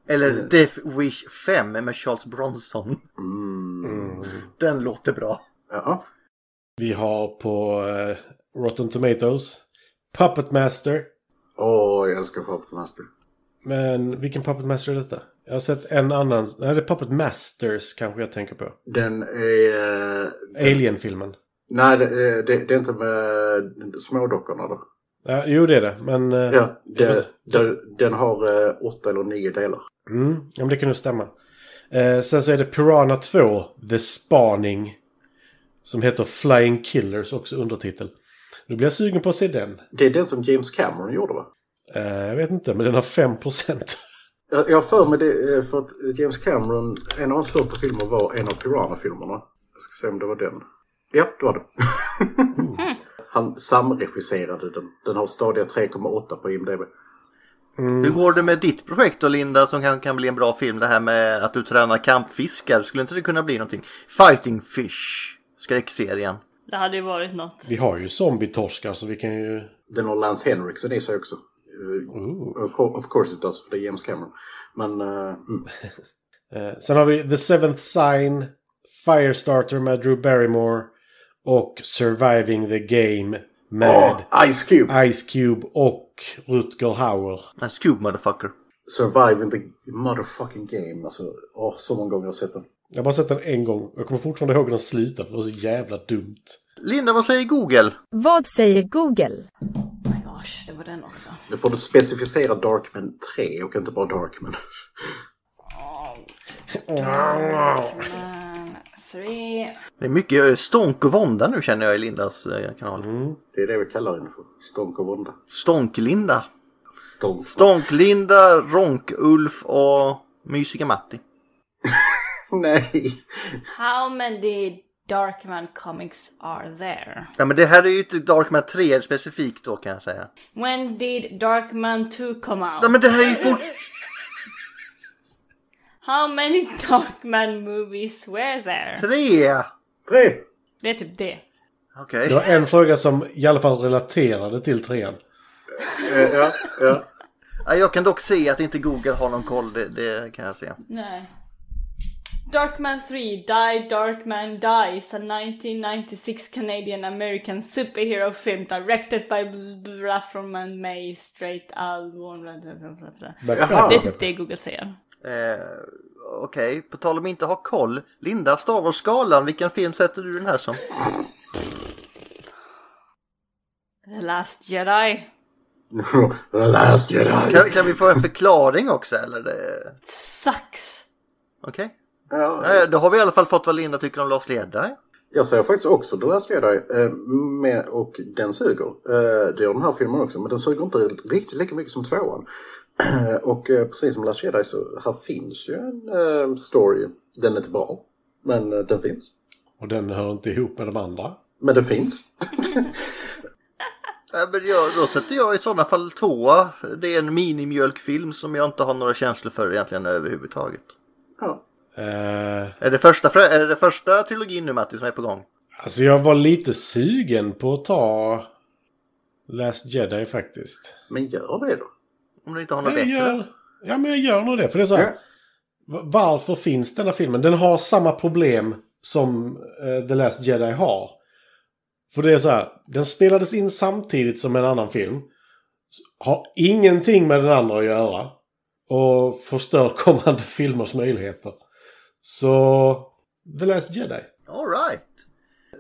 Eller Death Wish 5 med Charles Bronson.
Mm.
Den låter bra.
Mm. Ja.
Vi har på eh, Rotten Tomatoes Puppet Master.
Åh, jag älskar Puppet Master.
Men vilken Puppet Master är detta? Jag har sett en annan. Nej, det är Puppet Masters kanske jag tänker på.
Den är... eh,
Alien-filmen.
Nej, det, eh, det, det är inte med smådockorna då.
Ja, jo, det är det. Men... eh,
Ja, det, det, den har eh, åtta eller nio delar.
Mm, ja, men det kan nog stämma. Eh, sen så är det Piranha 2, The Spaning. Som heter Flying Killers, också undertitel. Nu blir jag sugen på att se den.
Det är den som James Cameron gjorde va?
Eh, jag vet inte, men den har 5%.
Jag jag har för mig det eh, för att James Cameron, en av hans första filmer var en av Piranha-filmerna. Jag ska se om det var den. Ja, det var det. Han samregisserade den. Den har stadiga 3,8 på IMDB.
Hur går det med ditt projekt då Linda som kan, kan bli en bra film? Det här med att du tränar kampfiskar. Skulle inte det kunna bli någonting? Fighting Fish. Skräckserien.
Det hade ju varit något.
Vi har ju zombietorskar så vi kan ju...
Den har Lance Henriksen i sig också. Eh,
Ooh.
Of co- of course it does, för det är James Cameron. Men eh, mm.
Eh, sen har vi The Seventh Sign, Firestarter med Drew Barrymore och Surviving the Game med
Åh, Ah, Ice Cube!
Ice Cube och Rutger Hauer.
That's Cube motherfucker.
Surviving the motherfucking game. Alltså, åh, så många gånger jag har sett den.
Jag har bara sett den en gång. Jag kommer fortfarande ihåg hur den slutade för det var så jävla dumt.
Linda, vad säger Google?
Vad säger Google?
Oh my gosh, det var den också.
Nu får du specificera Darkman 3 och inte bara Darkman.
Men, Three.
Det är mycket eh, stånk och vånda nu känner jag i Lindas eh, kanal.
Det är det vi kallar den för. Stånk och vånda.
Stånk-Linda.
Stånk.
Stånk-Linda, Ronk-Ulf och Mysiga Matti.
Nej!
How many Darkman comics are there?
Ja, men det här är ju inte Darkman 3 specifikt då kan jag säga.
When did Darkman 2 come out?
Ja, men det här är ju fort...
How many Darkman movies were there?
3!
Tre!
Det är typ det.
Okej.
Det var en fråga som i alla fall relaterade till trean.
Eh, ja, ja.
Ja, jag kan dock se att inte Google har någon koll, det, det kan jag se.
Nej. Darkman 3 Die Darkman Dies, a 1996 Canadian American superhero film directed by Brathram and May Straight Al Warren.
Men
Det är typ det Google säger.
Eh, Okej, på tal om inte ha koll. Linda, Star Wars-skalan, vilken film sätter du den här som?
The Last Jedi.
The last jedi!
Kan, kan vi få en förklaring också eller? Det-
Sucks!
Okej.
Ja,
Eh, Då har vi i alla fall fått vad Linda tycker om Lars Jedi.
jag säger faktiskt också The last jedi. eh, Med, och den suger. Eh, Det gör den här filmen också. Men den suger inte riktigt lika mycket som tvåan. Och eh, precis som Last Jedi så här finns ju en eh, story. Den är inte bra. Men eh, den finns.
Och den hör inte ihop med de andra.
Men den finns.
Nej, men jag, då sätter jag i sådana fall tvåa. Det är en minimjölkfilm som jag inte har några känslor för egentligen överhuvudtaget.
Ja.
Eh,
Är det första, frö- är det första trilogin nu Matti som är på gång?
alltså jag var lite sugen på att ta Last Jedi faktiskt.
Men gör det då.
Om du inte har något
Jag
bättre?
gör, ja men jag gör nog det. För det är så här,
Ja.
va- Varför finns denna filmen? Den har samma problem som eh, The Last Jedi har. För det är så här. Den spelades in samtidigt som en annan film. S- Har ingenting med den andra att göra. Och förstör kommande filmers möjligheter. Så... The Last Jedi.
All right.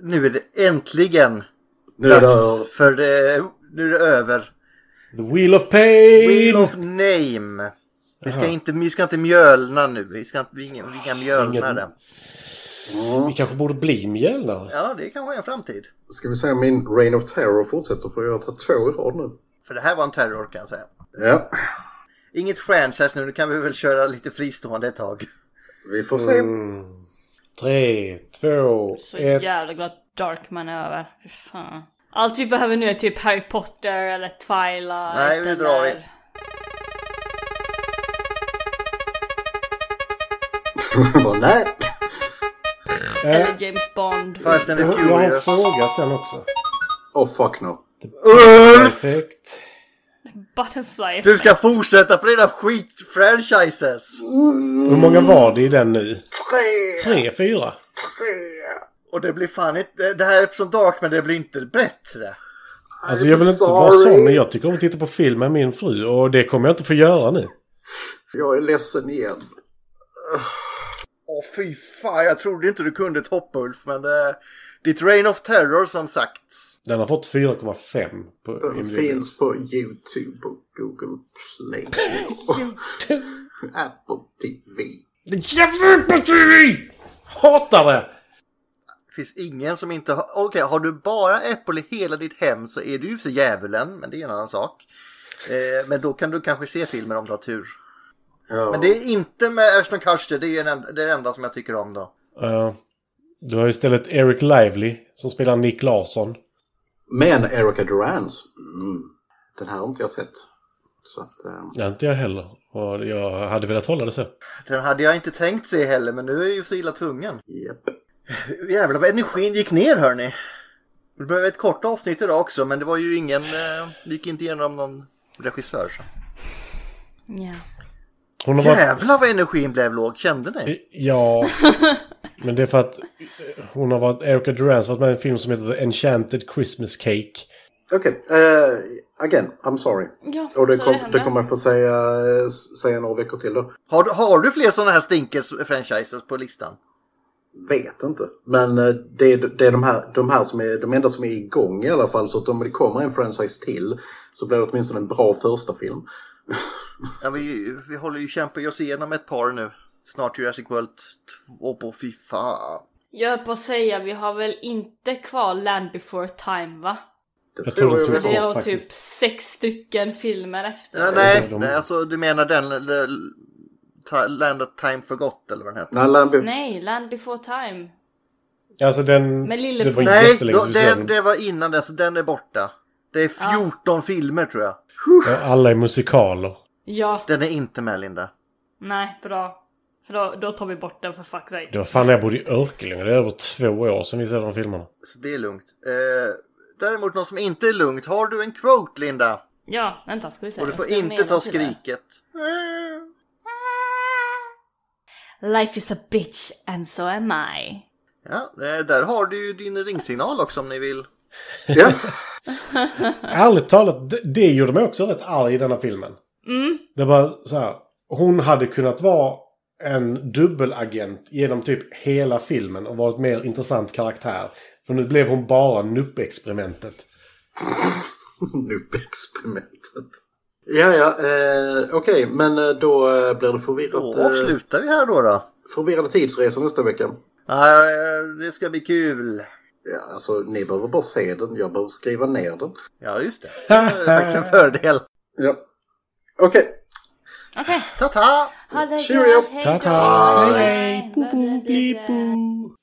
Nu är det äntligen
Nu är det...
dags för det. Nu är det över.
The Wheel of Pain!
Wheel of Name. Vi ska,
Jaha.
inte, vi ska inte mjölna nu. Vi ska inte, vi, inga- vi inga mjölna
Ingen-
det.
Vi kanske borde bli mjölnare.
Ja, det kanske är en framtid.
Ska vi säga min Reign of Terror fortsätter för jag har tagit två i rad nu.
För det här var en terror kan jag säga.
Ja.
Inget franchise nu, nu kan vi väl köra lite fristående ett tag.
Vi får se.
Tre, två,
Så
ett.
jävla glad Darkman är över. Fy fan. Allt vi behöver nu är typ Harry Potter eller Twilight
Nej, nu
eller...
drar vi.
Bara, Nej.
Eh,
Eller James Bond.
Fast and
jag
the
har en
Furious.
fråga sen också.
Oh fuck no.
Perfekt.
Butterfly
Du ska fortsätta på dina skitfranchises!
Hur många var det i den nu?
Tre!
Tre, fyra?
Och det blir fan inte... Det här är som Dark, men det blir inte bättre.
Alltså jag vill inte vara
sorry.
sån men jag tycker om att titta på film med min fru och det kommer jag inte få göra nu.
Jag är ledsen igen.
Åh fy fan, jag trodde inte du kunde ett hopp Ulf, men det... Ditt Rain of Terror som sagt.
Den har fått 4,5 på
Den
IMDb.
finns på YouTube och Google Play. och Apple TV.
Jävla på TV! Hatar det!
Finns ingen som inte har... Okej, har du bara Apple i hela ditt hem så är du ju för djävulen, men det är en annan sak. Eh, men då kan du kanske se filmer om du har tur. Men det är inte med Ashton Kutcher, det är ju en en- det enda som jag tycker om då.
Eh, du har ju istället Eric Lively som spelar Nick Larsson.
Men Erica Durans. Mm, den här har inte jag sett. Så att, eh,
Ja, inte jag heller. Och jag hade velat hålla det så.
Den hade jag inte tänkt se heller, men nu är jag ju så illa tvungen.
japp.
Jävlar vad energin gick ner hörni. Det blev ett kort avsnitt idag också, men det var ju ingen... Eh, det gick inte igenom någon regissör. Så.
Ja.
Hon har varit...
Jävlar vad energin blev låg, kände ni?
Ja. Men det är för att hon har varit... Erica Durance har varit med i en film som heter The Enchanted Christmas Cake.
Okej, eh, again, I'm sorry.
Ja,
Och det,
så
kom,
det
det
händer.
kommer jag få säga, eh, s- säga några veckor till då.
Har du, har du fler sådana här stinkers-franchises på listan?
Vet inte. Men eh, det är, det är de, här, de här som är de enda som är igång i alla fall. Så att om det kommer en franchise till så blir det åtminstone en bra första film.
Ja, vi, vi håller ju kämpa oss igenom ett par nu. Snart Jurassic World 2 på fy fan.
Jag höll på att säga, vi har väl inte kvar Land before time va?
Det
Jag tror de tog
vi
Det
har.
Ja,
är typ
faktiskt.
sex stycken filmer efter.
Nej,
det är
nej,
de-
nej, alltså du menar den... den Ta- Land of Time Forgot eller vad den heter?
Nej, Lambi,
Nej, Land before time.
Alltså den...
Men lille-
det var
Nej,
jättelänge
då,
sedan vi såg
det,
den.
det var innan den, så den är borta. Det är 14 filmer tror jag.
Och Alla är musikaler.
Ja,
Den är inte med Linda.
nej, bra. För då, då tar vi bort den för fuck's sake.
Det var fan när jag bodde i Örkelljunga. Det är över två år sedan vi såg de filmerna.
Så det är lugnt. Eh, däremot något som inte är lugnt. Har du en quote Linda?
Ja, vänta ska vi se.
Och du
Jag
får
skriver ner
inte
den
ta
till det.
skriket.
Life is a bitch and so am I.
Ja, eh, där har du ju din ringsignal också om ni vill.
ja.
Ärligt talat, det, det gjorde mig också rätt arg i denna filmen.
Mm,
Det var så här. Hon hade kunnat vara en dubbelagent genom typ hela filmen och varit mer intressant karaktär. För nu blev hon bara nuppexperimentet.
Nubbexperimentet. Ja, ja, eh, okej, men eh, då eh, blir det förvirrat.
Då avslutar vi här då. då.
förvirrade tidsresor nästa vecka.
Eh, det ska bli kul.
Ja, alltså, ni behöver bara se den, jag behöver skriva ner den.
Ja, just det. Det
Ah!
är faktiskt en fördel.
Ja. Okej,
okej.
Ta-ta!
Ha det
Cheerio.
gött, hej då.
Ta-ta!
Hej, hej.
Bo-bo-bli-bo!